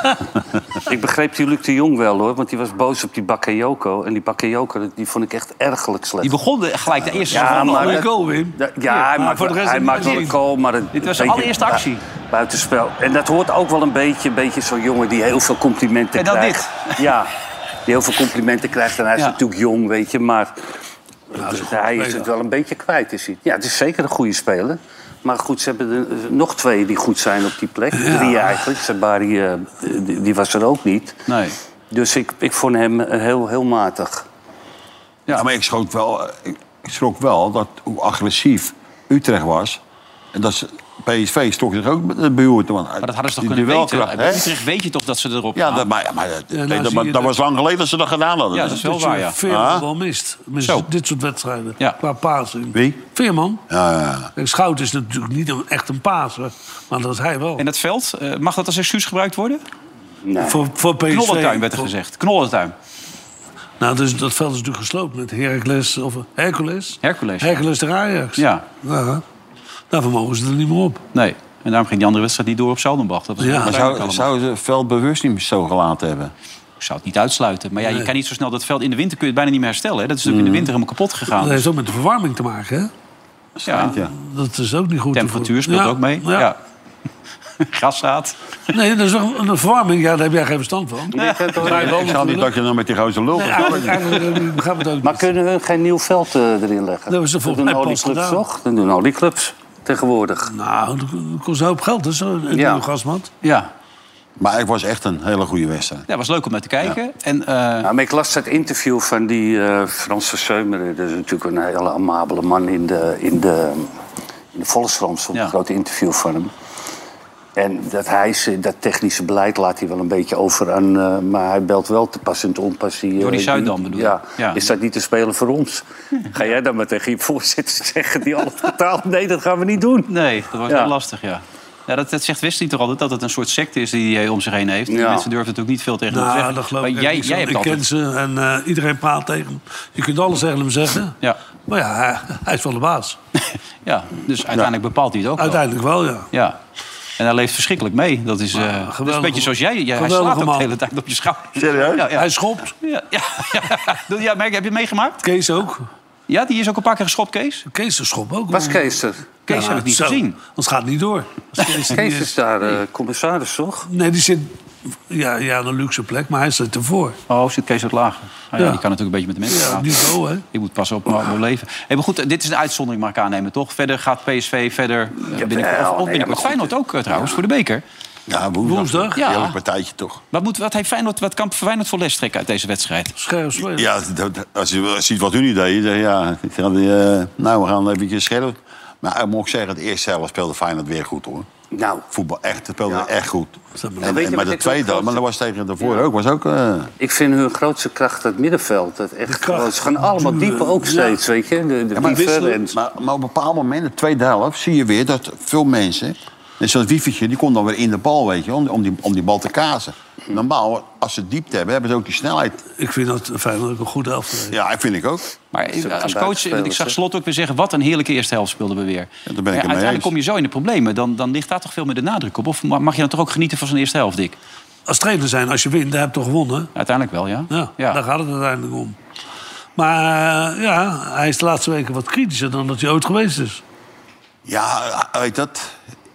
Speaker 4: ik begreep die Luc de Jong wel, hoor. Want die was boos op die Bakayoko. En die Bakayoko, die vond ik echt ergelijk slecht.
Speaker 2: Die begon de- gelijk de eerste
Speaker 4: Ja,
Speaker 2: seconde al.
Speaker 4: maar-
Speaker 5: Mooie
Speaker 4: dat-
Speaker 5: goal, Wim.
Speaker 4: Ja, ja, hij
Speaker 5: maar
Speaker 4: maakt,
Speaker 5: voor de
Speaker 4: wel-
Speaker 5: rest
Speaker 4: hij
Speaker 5: heb
Speaker 4: maakt
Speaker 5: ik
Speaker 4: wel een
Speaker 5: gezien.
Speaker 4: goal, maar...
Speaker 2: Dit
Speaker 4: Het,
Speaker 2: was de
Speaker 4: beetje
Speaker 2: allereerste
Speaker 4: bui-
Speaker 2: actie.
Speaker 4: Buitenspel. En dat hoort ook wel een beetje, een beetje zo'n jongen die heel veel complimenten
Speaker 2: En dan
Speaker 4: krijgt. Ja, die heel veel complimenten krijgt. En hij is
Speaker 2: Ja.
Speaker 4: natuurlijk jong, weet je, maar... hij is
Speaker 5: speler.
Speaker 4: het wel een beetje kwijt, is hij. Ja, het is zeker een goede speler. Maar goed, ze hebben er eh, nog twee die goed zijn op die plek. Drie eigenlijk. Sabari, eh, die, die was er ook niet.
Speaker 2: Nee.
Speaker 4: Dus ik, ik vond hem eh, heel, heel matig.
Speaker 3: Ja, maar ik, schrok wel, eh, ik schrok wel dat hoe agressief Utrecht was. En dat ze, PSV stok zich ook be- behoord. want
Speaker 2: Maar dat hadden ze toch
Speaker 3: die
Speaker 2: kunnen
Speaker 3: duelkracht,
Speaker 2: weten. Bij
Speaker 3: hè?
Speaker 2: Utrecht weet je toch dat ze erop
Speaker 3: Ja,
Speaker 2: gaan.
Speaker 3: dat, maar, maar, dat-
Speaker 5: nou
Speaker 3: dat-
Speaker 5: zie je
Speaker 3: maar dat,
Speaker 5: dat-
Speaker 3: was lang geleden dat ze dat gedaan hadden.
Speaker 2: Ja, dat is wel
Speaker 5: Dat je
Speaker 2: waar, ja.
Speaker 5: Veerman
Speaker 3: Ah.
Speaker 5: wel mist. Met
Speaker 2: Zo.
Speaker 5: dit soort wedstrijden.
Speaker 2: Ja.
Speaker 5: Qua passing.
Speaker 3: Wie?
Speaker 5: Veerman.
Speaker 3: Ja, ja, ja.
Speaker 5: Kijk, Schout is natuurlijk niet een- echt een paser. Maar dat is hij wel.
Speaker 2: En dat veld, eh, mag dat als excuus gebruikt worden?
Speaker 4: Nou.
Speaker 5: Voor, voor PSV.
Speaker 2: Knollentuin werd er
Speaker 5: Voor-
Speaker 2: gezegd. Knollentuin.
Speaker 5: Nou, dus, dat veld is natuurlijk gesloopt met Heracles of Hercules.
Speaker 2: Hercules.
Speaker 5: Hercules de Ajax.
Speaker 2: Ja,
Speaker 5: Ja. Daarvoor mogen ze er niet meer op.
Speaker 2: nee. En daarom ging die andere wedstrijd niet door op Zeldenbach. Dat was
Speaker 5: Ja.
Speaker 3: Maar
Speaker 2: uiteindelijk
Speaker 3: zou,
Speaker 2: allemaal. Oh,
Speaker 3: zou ze veld bewust niet zo gelaten hebben?
Speaker 2: Ik zou het niet uitsluiten. Maar ja, je
Speaker 5: Nee.
Speaker 2: kan niet zo snel dat veld in de winter kun je het bijna niet meer herstellen. Hè? Dat is natuurlijk
Speaker 3: Mm.
Speaker 2: in de winter helemaal kapot gegaan. Dus
Speaker 5: Dat heeft ook met de verwarming te maken, hè?
Speaker 2: ja.
Speaker 3: Ja.
Speaker 5: Dat is ook niet goed.
Speaker 2: Temperatuur speelt
Speaker 5: Ja,
Speaker 2: ook mee. Ja.
Speaker 5: Ja.
Speaker 2: Graszaad.
Speaker 5: Nee, dat is wel een verwarming. Ja, daar heb jij geen verstand van.
Speaker 3: Ik zou niet dat je nou met die gozer lul gaat.
Speaker 5: Eigenlijk, eigenlijk eh, begrijp het ook
Speaker 4: Maar
Speaker 5: niet.
Speaker 4: kunnen hun geen nieuw veld eh, erin leggen?
Speaker 5: Dat hebben ze volgens
Speaker 4: doen
Speaker 5: mij
Speaker 4: al die
Speaker 5: pas
Speaker 4: clubs
Speaker 5: gedaan.
Speaker 4: toch? Dat doen al die clubs tegenwoordig.
Speaker 5: Nou, dat kost een hoop geld, dus een een
Speaker 4: Ja.
Speaker 5: nieuwe gasmat.
Speaker 2: Ja.
Speaker 3: Maar het was echt een hele goede wedstrijd.
Speaker 2: ja, was leuk om naar te kijken. En eh,
Speaker 4: Ja, Nou, maar ik las dat interview van die eh Frans Verzeumeren. Dat is natuurlijk een hele amabele man in de, in de, in de Volkskrant. stond
Speaker 2: Ja.
Speaker 4: Een groot interview van hem. En dat, hij, ze- dat technische beleid laat hij wel een beetje over aan... eh, maar hij belt wel te pas en te onpas. Die, eh,
Speaker 2: Door die Zuidam bedoel je?
Speaker 4: ja.
Speaker 2: Ja.
Speaker 4: Is dat niet te spelen voor ons? Ga jij dan maar tegen je voorzitter zeggen die alles betaalt? Nee, dat gaan we niet doen.
Speaker 2: nee, dat was
Speaker 4: Ja.
Speaker 2: wel lastig, ja. Ja, dat, dat zegt Wesley toch altijd, dat het een soort secte is die hij om zich heen heeft. Die
Speaker 4: Ja.
Speaker 2: Mensen durven natuurlijk niet veel tegen hem te
Speaker 5: Nou,
Speaker 2: zeggen.
Speaker 5: dat geloof
Speaker 2: maar
Speaker 5: ik echt
Speaker 2: jij,
Speaker 5: niks
Speaker 2: jij
Speaker 5: van.
Speaker 2: hebt
Speaker 5: Ik ken
Speaker 2: altijd...
Speaker 5: ze en eh, iedereen praat tegen hem. Je kunt alles tegen hem zeggen.
Speaker 2: Ja.
Speaker 5: Maar ja, hij, hij is wel de baas.
Speaker 2: Ja, dus uiteindelijk bepaalt hij het ook wel.
Speaker 5: Uiteindelijk wel, ja.
Speaker 2: Ja. En hij leeft verschrikkelijk mee. Dat is, eh, dat is een
Speaker 5: geweldige-
Speaker 2: beetje zoals jij. jij hij
Speaker 5: geweldige
Speaker 2: slaat ook
Speaker 5: man.
Speaker 2: de hele tijd op je schouder.
Speaker 3: Serieus?
Speaker 2: Ja, ja.
Speaker 5: Hij schopt.
Speaker 2: Ja, ja, ja. Doe- ja, merk, heb je het meegemaakt?
Speaker 5: Kees ook.
Speaker 2: Ja, die is ook een paar keer geschopt, Kees.
Speaker 5: Kees de schop ook.
Speaker 4: Was Kees er?
Speaker 2: Kees heb ik niet
Speaker 5: zo.
Speaker 2: gezien.
Speaker 5: Anders gaat het niet door. Als Kees er
Speaker 4: Kees
Speaker 5: niet
Speaker 4: is daar eh, commissaris, toch?
Speaker 5: Nee, die zit ja, ja, aan een luxe plek, maar hij zit ervoor.
Speaker 2: Oh, zit Kees wat lager. Nou ja,
Speaker 5: Ja.
Speaker 2: Die kan natuurlijk een beetje met de mensen
Speaker 5: Ja,
Speaker 2: praten.
Speaker 5: niveau, hè?
Speaker 2: Ik moet pas op mijn mijn leven. Hey, maar goed, eh, dit is een uitzondering, mag ik aannemen, toch? Verder gaat PSV verder. eh, binnenkort, of-
Speaker 4: nee,
Speaker 2: of
Speaker 4: maar
Speaker 2: binnenkort.
Speaker 4: goed.
Speaker 2: Feyenoord ook eh, trouwens, voor de beker.
Speaker 3: Ja, woensdag.
Speaker 5: Woensdag?
Speaker 2: Ja.
Speaker 3: Heerlijk partijtje toch.
Speaker 2: Wat, moet, wat, heeft Feyenoord, wat kan Feyenoord voor les trekken uit deze wedstrijd?
Speaker 5: Scherp spelen.
Speaker 3: Ja, dat- dat- als je ziet wat hun idee is, ja, ik zeg, eh, nou, we gaan eventjes scherp. Maar ik moet zeggen, het eerste helft speelde Feyenoord weer goed, hoor.
Speaker 4: Nou,
Speaker 3: Voetbal echt, het speelde
Speaker 4: Ja.
Speaker 3: echt goed. En,
Speaker 4: Weet je
Speaker 3: en,
Speaker 4: wat
Speaker 3: maar de
Speaker 4: ik ook
Speaker 3: tweede, helft,
Speaker 4: groot-
Speaker 3: maar dat was tegen daarvoor ook, was ook... eh,
Speaker 4: ik vind hun grootste kracht het middenveld. Dat echt
Speaker 5: kracht.
Speaker 4: gewoon- ze gaan allemaal dieper ook
Speaker 5: Ja.
Speaker 4: steeds, weet je. De, de
Speaker 3: maar,
Speaker 4: dieper en...
Speaker 3: maar, maar op een bepaald moment, in de tweede helft, zie je weer dat veel mensen En zo'n wiefertje, die komt dan weer in de bal, weet je, om, om, die, om die bal te kazen. Normaal, als ze diepte hebben, hebben ze ook die snelheid.
Speaker 5: Ik vind dat Feyenoord ook een goede helft heeft.
Speaker 3: Ja, vind ik ook.
Speaker 2: Maar eh,
Speaker 4: Ze hebben
Speaker 2: als
Speaker 4: vandaag
Speaker 2: coach,
Speaker 4: gespeeld,
Speaker 2: ik zag
Speaker 4: hè?
Speaker 2: Slot ook weer zeggen... wat een heerlijke eerste helft speelden we weer.
Speaker 3: Ja, daar ben ik het mee
Speaker 2: uiteindelijk
Speaker 3: eens.
Speaker 2: kom je zo in de problemen. Dan, dan ligt daar toch veel meer de nadruk op. Of ma- mag je dan toch ook genieten van zo'n eerste helft, Dick?
Speaker 5: Als trainer zijn, als je wint, dan heb je toch gewonnen.
Speaker 2: Uiteindelijk wel, ja?
Speaker 5: Ja, daar gaat het uiteindelijk om. Maar eh, ja, hij is de laatste weken wat kritischer dan dat hij ooit geweest is.
Speaker 3: Ja, eh, weet dat?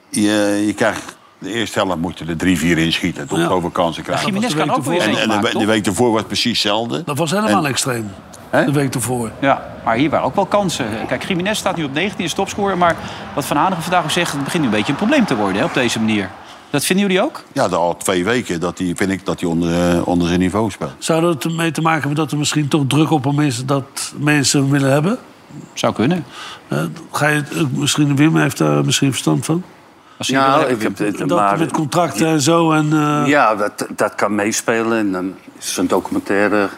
Speaker 3: Je, je krijgt de eerste helft moet je er drie, vier in schieten. Tot
Speaker 5: Ja.
Speaker 3: zoveel kansen krijgen.
Speaker 2: Jiménez kan ook weer
Speaker 5: En-
Speaker 3: En,
Speaker 2: eens
Speaker 3: en de,
Speaker 2: maken,
Speaker 3: we- de
Speaker 2: toch?
Speaker 3: week ervoor was precies hetzelfde.
Speaker 5: Dat was helemaal extreem. De week ervoor.
Speaker 2: Ja, maar hier waren ook wel kansen. Kijk, Jiménez staat nu op 19 is topscorer. Maar wat Van Hanegem vandaag ook zegt, het begint nu een beetje een probleem te worden hè, op deze manier. Dat vinden jullie ook?
Speaker 3: Ja, dat al twee weken dat die, vind ik dat hij onder, eh, onder zijn niveau speelt.
Speaker 5: Zou dat ermee te maken hebben dat er misschien toch druk op hem is dat mensen hem willen hebben?
Speaker 2: Zou kunnen.
Speaker 5: Eh, ga je, het- misschien Wim heeft daar misschien verstand van.
Speaker 2: Als je
Speaker 4: Ja,
Speaker 2: wil-
Speaker 4: ik heb dit,
Speaker 5: Dat
Speaker 4: maar,
Speaker 5: met contracten en zo. En, eh,
Speaker 4: ja dat, dat kan meespelen. En dan is een documentaire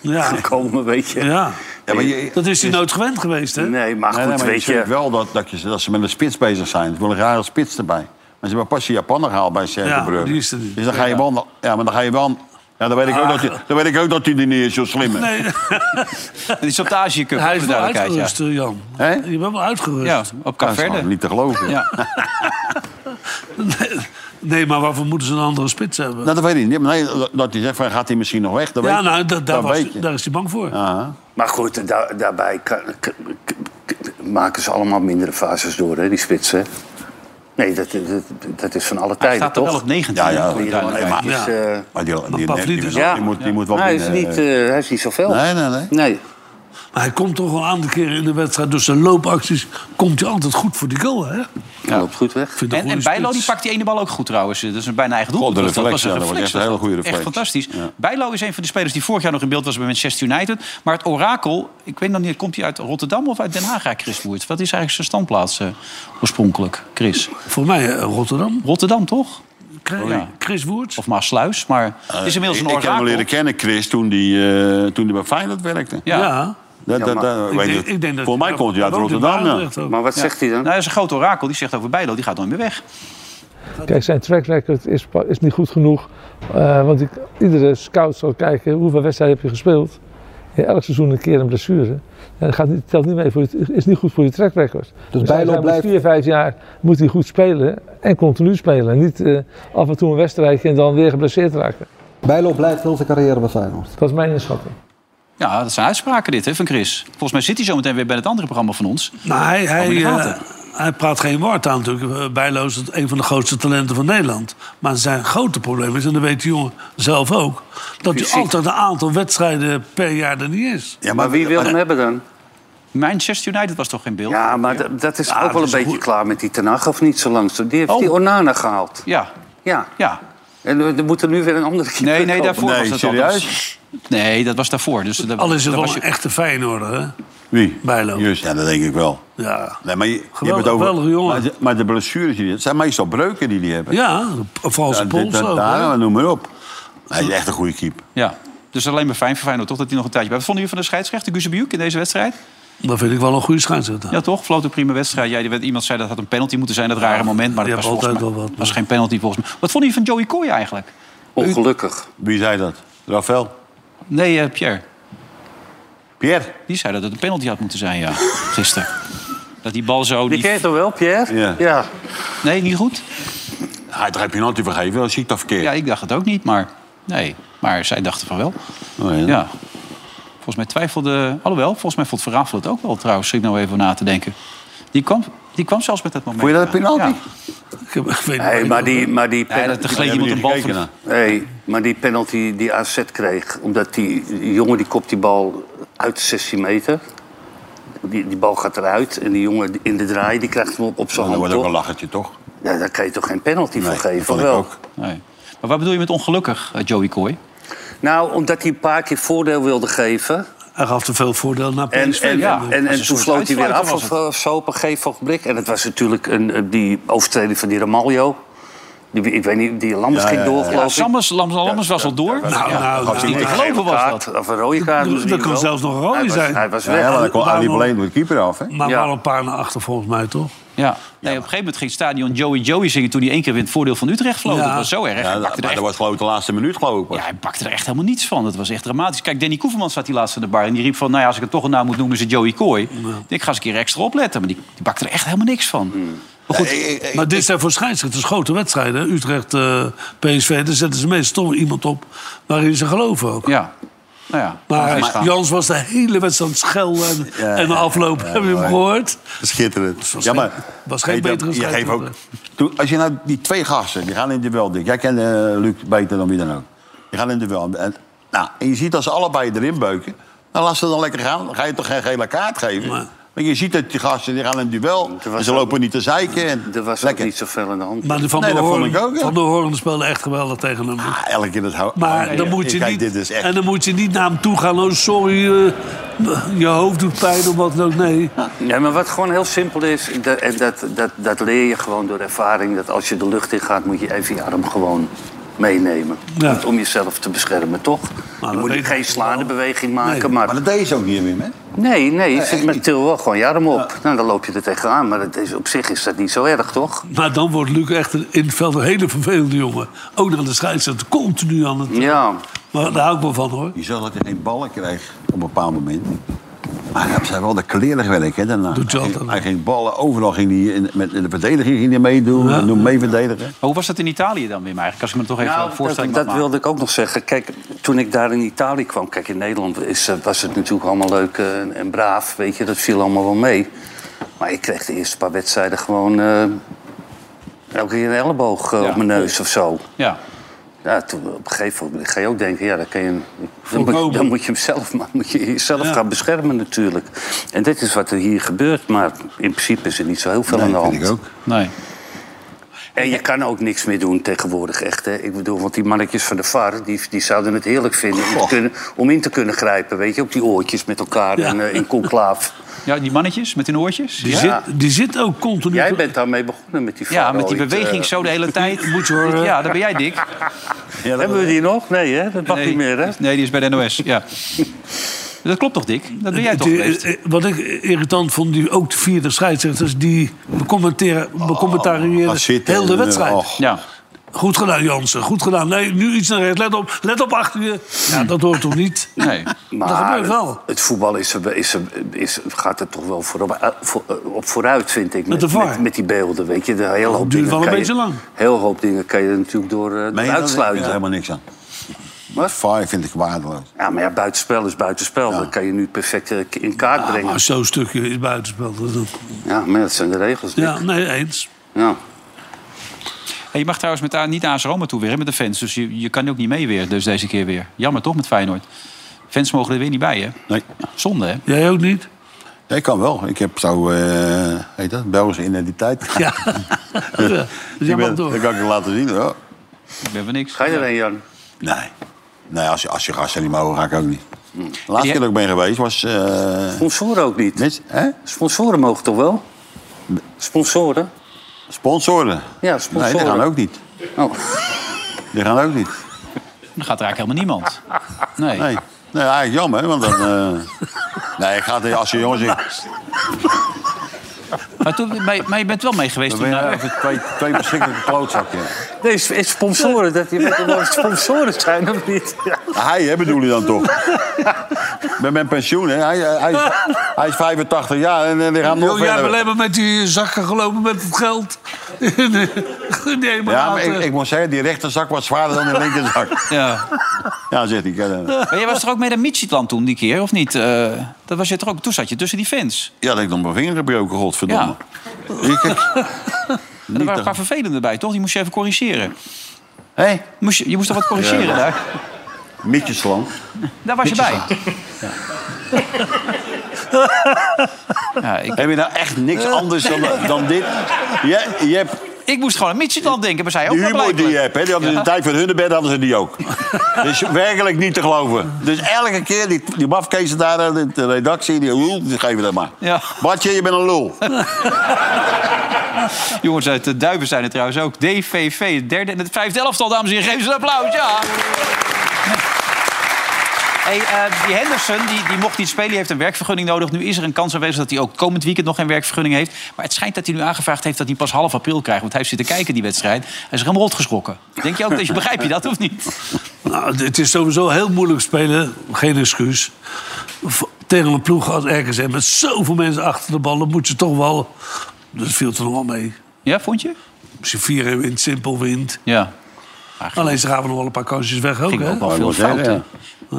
Speaker 5: ja. Ja.
Speaker 4: gekomen, weet je.
Speaker 3: Ja, maar je,
Speaker 5: dat is hij nooit gewend geweest, hè?
Speaker 4: Nee, maar goed,
Speaker 3: nee, nee, maar je
Speaker 4: weet je...
Speaker 3: ziet wel dat, dat, je, dat ze met een spits bezig zijn. Ze willen graag een spits erbij. Maar ze hebben pas die Japaner gehaald bij Sergio
Speaker 5: Ja,
Speaker 3: Brugge.
Speaker 5: die is er niet.
Speaker 3: Dus dan ga je wel... Ja, maar dan ga je wel... Ja, dan weet ik ook dat hij- dan weet ik ook dat hij er niet is, zo slim. is.
Speaker 5: Nee,
Speaker 2: Dat is op de Azië Cup,
Speaker 5: hij is
Speaker 2: voor
Speaker 5: wel
Speaker 2: duidelijkheid, ja.
Speaker 5: uitgerust, eh, Jan.
Speaker 3: Hè?
Speaker 5: Je bent wel uitgerust.
Speaker 2: Ja, op
Speaker 3: Dat is
Speaker 2: Caverde.
Speaker 3: gewoon niet te geloven.
Speaker 2: Ja.
Speaker 5: Nee, maar waarvoor moeten ze een andere spits hebben?
Speaker 3: Nou, dat weet ik niet. Maar nee, dat- dat hij zegt, van, gaat hij misschien nog weg? Dat
Speaker 5: ja,
Speaker 3: weet,
Speaker 5: nou, da- daar, was-
Speaker 3: weet je.
Speaker 5: daar is hij bang voor.
Speaker 3: Aha.
Speaker 4: Maar goed, da- daarbij ka- k- k- k- maken ze allemaal mindere fases door, hè, die spitsen. Nee, dat, dat, dat is van alle
Speaker 2: Hij
Speaker 4: tijden,
Speaker 2: staat er
Speaker 4: toch?
Speaker 2: wel op 19.
Speaker 3: Ja, ja,
Speaker 2: hè, voor
Speaker 3: nee,
Speaker 4: Moet je dan
Speaker 2: duidelijkheid.
Speaker 4: maar eventjes,
Speaker 5: Ja.
Speaker 4: eh,
Speaker 3: Maar die, die, die, die,
Speaker 5: Pavlidis
Speaker 3: die-
Speaker 4: ook.
Speaker 3: die moet, die moet wat
Speaker 4: nee, hij, is
Speaker 3: minder,
Speaker 4: niet,
Speaker 3: eh,
Speaker 4: eh, hij is niet zoveel.
Speaker 3: Nee, nee, nee.
Speaker 4: Nee.
Speaker 5: Maar hij komt toch wel aan de keer in de wedstrijd. Dus zijn loopacties komt hij altijd goed voor die goal, hè? Ik
Speaker 4: Hij loopt goed weg.
Speaker 5: vind
Speaker 2: En, en Bijlo die
Speaker 5: pakt.
Speaker 2: pakt die ene bal ook goed trouwens. Dat is een bijna eigen doel.
Speaker 3: God, de reflex, ja, dat was echt een hele goede
Speaker 2: Echt
Speaker 3: reflex.
Speaker 2: fantastisch.
Speaker 3: Ja.
Speaker 2: Bijlo is een van de spelers die vorig jaar nog in beeld was bij Manchester United. Maar het orakel, ik weet nog niet, komt hij uit Rotterdam of uit Den Haag, eigenlijk, Chris Woerts? Wat is eigenlijk zijn standplaats eh, oorspronkelijk, Chris?
Speaker 5: Voor mij eh, Rotterdam.
Speaker 2: Rotterdam, toch?
Speaker 5: Kri-
Speaker 3: Oh,
Speaker 2: ja.
Speaker 5: Chris Woerts.
Speaker 2: Of Maasluis, maar het is inmiddels een
Speaker 3: Eh, ik, ik heb hem
Speaker 2: orakel.
Speaker 3: leren kennen, Chris, toen hij eh, toen die bij Feyenoord werkte.
Speaker 2: ja.
Speaker 5: ja.
Speaker 3: Dat, dat, dat,
Speaker 5: Ik
Speaker 3: weet
Speaker 5: denk-
Speaker 3: het.
Speaker 5: ik denk dat
Speaker 3: Voor mij
Speaker 5: ja,
Speaker 3: komt hij uit
Speaker 5: woont in
Speaker 3: Rotterdam. ja.
Speaker 5: Barendrecht ook.
Speaker 4: Maar wat zegt hij dan?
Speaker 2: Nou, dat is een groot orakel. Die zegt over Bijlo, die gaat nooit meer weg.
Speaker 9: Kijk, zijn track record is, pa- is niet goed genoeg. eh, want ik, iedere scout zal kijken hoeveel wedstrijden heb je gespeeld. Ja, elk seizoen een keer een blessure. Ja, dat gaat niet, telt niet mee, voor je, is niet goed voor je track record. Dus
Speaker 10: Bijlo
Speaker 9: hij moet
Speaker 10: blijft-
Speaker 9: vier, vijf jaar moet hij goed spelen en continu spelen. En niet eh, af en toe een wedstrijdje en dan weer geblesseerd raken.
Speaker 10: Bijlo blijft heel zijn carrière bij Feyenoord.
Speaker 9: Dat is mijn inschatting.
Speaker 2: Ja, dat zijn uitspraken dit, hè, van Chris. Volgens mij zit hij zometeen weer bij het andere programma van ons.
Speaker 5: Nou, hij, hij,
Speaker 2: in de
Speaker 5: eh,
Speaker 2: gaten.
Speaker 5: hij praat geen woord aan natuurlijk. Eh, Bijlo is het- een van de grootste talenten van Nederland. Maar zijn grote probleem is, en dat weet de jongen zelf ook... dat hij
Speaker 4: Fysiek.
Speaker 5: altijd een aantal wedstrijden per jaar er niet is.
Speaker 3: Ja,
Speaker 4: maar wie wil hem hebben dan?
Speaker 2: Manchester United was toch geen beeld?
Speaker 4: Ja, maar dat- dat is ook wel
Speaker 5: dat
Speaker 4: een
Speaker 5: is
Speaker 4: beetje
Speaker 5: goed.
Speaker 4: klaar met die Tenag, of niet zo lang? Die heeft
Speaker 2: Oh.
Speaker 4: die Onana gehaald.
Speaker 2: Ja,
Speaker 4: Ja.
Speaker 2: ja.
Speaker 4: En er- er moet er nu weer een andere keer
Speaker 2: Nee, nee,
Speaker 4: komen.
Speaker 2: daarvoor
Speaker 3: Oh, Nee,
Speaker 2: was dat
Speaker 3: serieus?
Speaker 2: anders. Nee, dat was daarvoor. Dus dat,
Speaker 5: Al is het
Speaker 2: dat
Speaker 5: wel
Speaker 2: was
Speaker 5: een
Speaker 2: je-
Speaker 5: echte Feyenoorder, hè?
Speaker 3: Wie?
Speaker 5: Bijlo.
Speaker 3: Juist, ja, dat denk ik wel.
Speaker 5: Ja.
Speaker 3: Nee, maar je, je hebt
Speaker 5: Geweldig-
Speaker 3: het over,
Speaker 5: geweldige jongen.
Speaker 3: Maar de, maar de blessures die die- het zijn meestal breuken die die hebben.
Speaker 5: Ja, een valse
Speaker 3: Ja, dit-
Speaker 5: pols
Speaker 3: dat-
Speaker 5: ook, hè?
Speaker 3: daar, noem maar op. Hij is echt een goede keeper.
Speaker 2: Ja. Dus alleen maar fijn voor Feyenoord, toch? Dat hij nog een tijdje bij. Wat vonden jullie van de scheidsrechter, Guzebuk, in deze wedstrijd?
Speaker 5: Dat vind ik wel een goede schijnzetter.
Speaker 2: Ja, toch? Floot een prima wedstrijd. Jij, die werd- iemand zei dat had een penalty moeten zijn, dat rare moment. Maar dat
Speaker 5: die
Speaker 2: was,
Speaker 5: hebben
Speaker 2: volgens
Speaker 5: altijd
Speaker 2: mij-
Speaker 5: wel wat,
Speaker 2: was geen penalty volgens mij. Wat vonden jullie van Joey Kooi eigenlijk?
Speaker 4: Ongelukkig.
Speaker 3: Wie zei dat? Rafael?
Speaker 2: Nee, eh, Pierre.
Speaker 3: Pierre?
Speaker 2: Die zei dat het een penalty had moeten zijn, ja. Gisteren. Dat die bal zo...
Speaker 4: Die
Speaker 2: Die...
Speaker 4: ken je toch wel, Pierre?
Speaker 3: Ja.
Speaker 4: ja.
Speaker 2: Nee, niet goed?
Speaker 3: Hij heeft geen penalty vergeven, dan zie ik dat verkeerd.
Speaker 2: Ja, ik dacht het ook niet, maar... Nee, maar zij dachten van wel.
Speaker 3: Oh, ja.
Speaker 2: Ja. Volgens mij twijfelde... Alhoewel, volgens mij vond Verrafel het ook wel trouwens. Zit ik nou even over na te denken. Die kwam, die kwam zelfs met dat moment.
Speaker 3: Vond je dat een penalty?
Speaker 2: Ja.
Speaker 5: Ik heb- ik weet
Speaker 4: Nee,
Speaker 5: niet-
Speaker 4: maar die, maar die
Speaker 2: Ja,
Speaker 4: penalty,
Speaker 2: dat gleed
Speaker 3: Hebben
Speaker 2: iemand een
Speaker 3: jullie
Speaker 2: bal
Speaker 3: gekeken
Speaker 2: van... de-
Speaker 3: naar?
Speaker 4: nee, maar die penalty die AZ kreeg... omdat die die jongen die kopt die bal uit de 16 meter... Die, die bal gaat eruit en die jongen in de draai die krijgt hem op, op zijn
Speaker 3: Oh, Dan
Speaker 4: hand.
Speaker 3: wordt ook
Speaker 4: Toch?
Speaker 3: een lachertje, toch?
Speaker 4: Ja, daar kan je toch geen penalty
Speaker 3: Nee,
Speaker 4: voor geven?
Speaker 3: dat vond ik
Speaker 4: wel?
Speaker 3: ook.
Speaker 2: Nee. Maar wat bedoel je met ongelukkig, eh, Joey Kooi?
Speaker 4: Nou, omdat hij een paar keer voordeel wilde geven.
Speaker 5: Hij gaf te veel voordeel naar
Speaker 4: En,
Speaker 5: PSV.
Speaker 4: en,
Speaker 2: ja.
Speaker 4: en,
Speaker 2: Als
Speaker 4: en,
Speaker 2: een
Speaker 4: toen
Speaker 2: soort
Speaker 4: sloot hij weer
Speaker 2: uitfluiter
Speaker 4: af
Speaker 2: was
Speaker 4: of, of zo op een gegeven ogenblik. En het was natuurlijk een, die overtreding van die Ramaljo. Die, ik weet niet, die Lammers
Speaker 3: Ja,
Speaker 4: ging
Speaker 3: ja,
Speaker 4: door,
Speaker 3: ja.
Speaker 4: geloof
Speaker 2: Ja,
Speaker 4: ik.
Speaker 2: Lammers, Lammers, Lammers was al door.
Speaker 5: Nou, nou,
Speaker 3: gaf hij
Speaker 5: nou,
Speaker 3: niet
Speaker 4: Een
Speaker 2: te
Speaker 5: nou,
Speaker 2: geloven
Speaker 4: gele
Speaker 2: was
Speaker 4: kaart
Speaker 2: dat.
Speaker 4: Of een rode kaart.
Speaker 5: Dat- dat
Speaker 4: misschien
Speaker 5: kan
Speaker 4: wel.
Speaker 5: zelfs nog een rode
Speaker 4: hij
Speaker 5: zijn.
Speaker 4: Was, hij was
Speaker 3: Ja,
Speaker 4: weg.
Speaker 3: maar dan kwam Ali
Speaker 5: waarom-
Speaker 3: Bleen door de keeper af, hè?
Speaker 5: Maar
Speaker 4: Ja.
Speaker 5: wel een paar naar achter volgens mij, toch?
Speaker 2: Ja. Nee, op een gegeven moment ging het stadion Joey Joey zingen... toen hij één keer in het voordeel van Utrecht vloog.
Speaker 3: Ja.
Speaker 2: Dat was zo erg.
Speaker 3: Ja,
Speaker 2: Hij
Speaker 3: dat,
Speaker 2: pakte er
Speaker 3: maar
Speaker 2: echt-
Speaker 3: dat was geloof ik de laatste minuut, geloof ik.
Speaker 2: ja, hij pakte er echt helemaal niets van. Dat was echt dramatisch. Kijk, Danny Koeverman zat die laatste in de bar. En die riep van, nou ja, als ik het toch een naam moet noemen... is het Joey Kooi. Ik denk, ga eens een keer extra opletten. Maar die, die pakte er echt helemaal niks van. Maar goed,
Speaker 5: Maar dit zijn voor scheidsrechters grote wedstrijden. Utrecht, eh, PSV, daar zetten ze meestal toch iemand op waarin ze geloven ook.
Speaker 2: Ja. Nou ja,
Speaker 5: Maar,
Speaker 2: maar-
Speaker 5: Jans was de hele wedstrijd aan het schelden en,
Speaker 3: Ja,
Speaker 5: en aflopen.
Speaker 3: ja,
Speaker 5: Heb je hem
Speaker 3: mooi.
Speaker 5: gehoord?
Speaker 3: Schitterend.
Speaker 5: was
Speaker 3: ja,
Speaker 5: geen-
Speaker 3: maar,
Speaker 5: was geen
Speaker 3: Hey, dat-
Speaker 5: betere
Speaker 3: je geeft ook,
Speaker 5: scheidsrechter.
Speaker 3: toen, Als je nou die twee gasten, die gaan in de duel, Dick. Jij kent eh, Luc beter dan wie dan ook. Die gaan in de duel. En, nou, en je ziet dat ze allebei erin beuken. Nou, laat ze dan lekker gaan. Dan ga je toch geen gele kaart geven? Want je ziet dat die gasten, die gaan in duel. En ze lopen niet te zeiken. En er was lekker. niet
Speaker 4: zoveel aan de hand.
Speaker 5: Maar de Van
Speaker 3: nee,
Speaker 5: der
Speaker 3: dat vond ik
Speaker 5: Hoorn-
Speaker 3: ook, ja. Ah,
Speaker 5: Van der Hoorn speelde echt geweldig tegen hem.
Speaker 3: Elke keer dat hou-
Speaker 5: Maar
Speaker 3: Nee,
Speaker 5: dan
Speaker 3: ja.
Speaker 5: moet je
Speaker 3: Kijk,
Speaker 5: niet,
Speaker 3: dit is echt-
Speaker 5: En dan moet je niet naar hem toe gaan. Oh, sorry, eh, je hoofd doet pijn of wat dan ook. Nee.
Speaker 4: Ja, Nou, maar wat gewoon heel simpel is, dat, en dat, dat, dat leer je gewoon door ervaring. Dat als je de lucht in gaat, moet je even je arm gewoon meenemen.
Speaker 3: Ja.
Speaker 4: Niet om jezelf te beschermen, toch? je moet niet geen slaande beweging maken. Maar...
Speaker 3: dat deed ze ook niet meer, hè?
Speaker 4: Nee, nee, je zit met til wel gewoon je arm op. Nou, dan loop je er tegenaan. Maar dat is, op zich is dat niet zo erg, toch?
Speaker 5: Maar dan wordt Luc echt een- in het veld een hele vervelende jongen. Ook naar de scheidsrechter, continu aan het...
Speaker 4: Ja.
Speaker 5: Maar daar hou ik wel van, hoor.
Speaker 3: Je zag dat hij geen ballen kreeg op een bepaald moment. Maar hij zei wel de klerig werk, hè, daarna.
Speaker 5: Doet je
Speaker 3: hij,
Speaker 5: altijd.
Speaker 3: ging, hij ging ballen, overal ging hij in, met in de verdediging ging hij meedoen.
Speaker 2: Ja.
Speaker 3: Noem mee verdedigen.
Speaker 2: Maar hoe was dat in Italië dan, Wim, eigenlijk? Als ik me toch even
Speaker 4: Nou,
Speaker 2: voorstel voorstelling
Speaker 4: dat, dat
Speaker 2: mag maken.
Speaker 4: wilde ik ook nog zeggen. Kijk, toen ik daar in Italië kwam... Kijk, in Nederland is, eh, was het natuurlijk allemaal leuk eh, en, en braaf. Weet je, dat viel allemaal wel mee. Maar ik kreeg de eerste paar wedstrijden gewoon... eh, elke keer een elleboog eh, op mijn neus of zo.
Speaker 2: Ja.
Speaker 4: Ja, toen op een gegeven moment ga je ook denken, ja, dan, kan je, dan, moet, dan moet je hem zelf, maar moet je jezelf gaan beschermen natuurlijk. En dit is wat er hier gebeurt, maar in principe is er niet zo heel veel aan de hand.
Speaker 3: vind ik ook.
Speaker 2: Nee.
Speaker 4: En je kan ook niks meer doen tegenwoordig, echt. Hè? Ik bedoel, want die mannetjes van de VAR, die, die zouden het heerlijk vinden om, te kunnen, om in te kunnen grijpen, weet je, op die oortjes met elkaar en eh, in conclaaf.
Speaker 2: Ja, die mannetjes met hun oortjes?
Speaker 4: Die zit-
Speaker 5: die zit ook continu...
Speaker 4: Jij bent daarmee begonnen met die VAR
Speaker 2: Ja, met die
Speaker 4: ooit,
Speaker 2: beweging
Speaker 4: eh.
Speaker 2: zo de hele tijd. Moet je
Speaker 4: horen.
Speaker 2: Ja, daar ben jij, Dick.
Speaker 4: Hebben we die nog? Nee, hè? Dat mag
Speaker 2: Nee.
Speaker 4: niet meer, hè?
Speaker 2: Nee, die is bij de NOS, ja. Dat klopt toch, Dick? Dat ben jij toch
Speaker 5: Die-
Speaker 2: geweest?
Speaker 5: eh, Wat ik irritant vond, die, ook de vierde scheidsrechters... die becommenteren,
Speaker 3: Oh,
Speaker 5: becommentariëren eh, heel
Speaker 3: eh,
Speaker 5: de wedstrijd.
Speaker 2: Ja.
Speaker 5: Goed gedaan, Jansen. Goed gedaan. Nee, nu iets naar rechts. Let op, let op achter je. Ja, dat hoort toch niet?
Speaker 2: Nee.
Speaker 5: Maar dat gebeurt wel.
Speaker 4: het- het voetbal is, er- is, er- is, gaat er toch wel voor op, voor- eh, op vooruit, vind ik.
Speaker 5: Met de VAR. Oh,
Speaker 4: Met, met die beelden, weet je. De hele hoop
Speaker 5: duurt
Speaker 4: dingen
Speaker 5: wel een
Speaker 4: kan je-
Speaker 5: beetje lang.
Speaker 4: Heel hoop dingen kan je er natuurlijk door, eh, door
Speaker 3: Nee, daar heb ik
Speaker 4: uitsluiten.
Speaker 3: helemaal niks aan.
Speaker 4: Wat?
Speaker 3: Vaar vind ik waardeloos.
Speaker 4: Ja, maar ja, buitenspel is buitenspel. Dat kan je nu perfect eh, in kaart brengen.
Speaker 5: Maar Nou, zo'n stukje is buitenspel. Dat is ook-
Speaker 4: Ja, maar dat zijn de regels. Dick.
Speaker 5: Ja, nee, eens.
Speaker 4: Ja.
Speaker 2: Hey, je mag trouwens met, A- niet naar AS Roma toe weer, hè, met de fans. Dus je, je kan ook niet mee weer, dus deze keer weer. Jammer toch, met Feyenoord? Fans mogen er weer niet bij, hè?
Speaker 3: Nee.
Speaker 2: Zonde, hè?
Speaker 5: Jij ook niet?
Speaker 3: Ik kan wel. Ik heb zo, eh heet dat, Belgische identiteit. Ja.
Speaker 5: Dus jij
Speaker 3: ik
Speaker 5: mag
Speaker 3: ben,
Speaker 5: door.
Speaker 3: dat kan ik laten zien, hoor.
Speaker 2: Ik ben van niks.
Speaker 4: Ga je erheen, Jan?
Speaker 3: Nee. Nee, als je, als je gasten niet mogen, ga ik ook niet.
Speaker 4: Hm.
Speaker 3: De laatste keer dat ik ben geweest was... eh,
Speaker 4: Sponsoren ook niet.
Speaker 3: hè?
Speaker 4: Sponsoren mogen toch wel? Sponsoren?
Speaker 3: Sponsoren.
Speaker 4: Ja, sponsoren.
Speaker 3: Nee, die gaan ook niet.
Speaker 4: Oh.
Speaker 3: Die gaan ook niet.
Speaker 2: Dan gaat er eigenlijk helemaal niemand. Nee.
Speaker 3: Nee. Nee, eigenlijk jammer, hè, want dan... eh, Nee, ik ga er- als je jongens... Ik...
Speaker 2: Maar, toen, maar, maar je bent wel mee geweest
Speaker 3: Dan
Speaker 2: toen
Speaker 3: ben je
Speaker 2: naar...
Speaker 3: even twee, twee verschrikkelijke klootzakken.
Speaker 4: Nee, s- is sponsoren. Dat je moet er wel sponsoren zijn, of niet? Ja.
Speaker 3: Hij, hè, bedoel je dan toch? Met mijn pensioen, hè? Hij, eh, hij, is, hij is 85 jaar en eh, die gaan nog
Speaker 5: Joh, Oh, jij hebt
Speaker 3: verder.
Speaker 5: alleen maar met die zakken gelopen met het geld. nee, maar,
Speaker 3: Ja, maar
Speaker 5: laten-
Speaker 3: ik, ik moet zeggen, die rechterzak was zwaarder dan de linkerzak.
Speaker 2: Ja.
Speaker 3: Ja, zegt hij. eh,
Speaker 2: Maar jij was er ook mee naar Midtjylland toen, die keer, of niet? Eh, dat was je er ook. Toen zat je tussen die fans.
Speaker 3: Ja, dat ik nog mijn vinger gebroken, godverdomme. Ik-
Speaker 2: En er waren een
Speaker 3: te-
Speaker 2: paar vervelende bij, toch? Die moest je even corrigeren.
Speaker 3: Hé,
Speaker 2: Moest je, je moest toch wat corrigeren
Speaker 3: Ja.
Speaker 2: daar?
Speaker 3: Mietjesland.
Speaker 2: Daar was je bij. Ja, ik,
Speaker 3: Heb je nou echt niks anders dan, dan dit? Je, je hebt
Speaker 2: ik moest gewoon aan Midtjylland denken, maar zij ook
Speaker 3: die
Speaker 2: wel
Speaker 3: humor die je
Speaker 2: blijkbaar.
Speaker 3: hebt. Hè? Die hadden in de tijd van Hunnebed hadden ze die ook. Dus werkelijk niet te geloven. Dus elke keer die, die mafkezen daar, eh, de, de redactie, die, oeh, die geven dat maar.
Speaker 2: Ja.
Speaker 3: Bartje, je bent een lul.
Speaker 2: Jongens uit de Duiven zijn het trouwens ook. DVV, het derde en het vijfde elftal, dames en heren. Geef ze een applaus, ja. Hey, eh, die Henderson die, die mocht niet spelen, die heeft een werkvergunning nodig. Nu is er een kans aanwezig dat hij ook komend weekend nog geen werkvergunning heeft. Maar het schijnt dat hij nu aangevraagd heeft dat hij pas half april krijgt. Want hij heeft zitten kijken die wedstrijd. Hij is er helemaal rot geschrokken. Denk je ook dat je begrijp je dat of niet?
Speaker 5: Nou, het is sowieso heel moeilijk spelen, geen excuus. V- Tegen een ploeg als RKC met zoveel mensen achter de bal, dan moet je toch wel... Dat viel toch nog wel mee.
Speaker 2: Ja, vond je?
Speaker 5: Als je 4 wint, simpel wint.
Speaker 2: Ja.
Speaker 5: Alleen ze gaven nog wel een paar kansjes weg ook,
Speaker 2: Ging
Speaker 5: hè?
Speaker 2: ook wel veel fouten.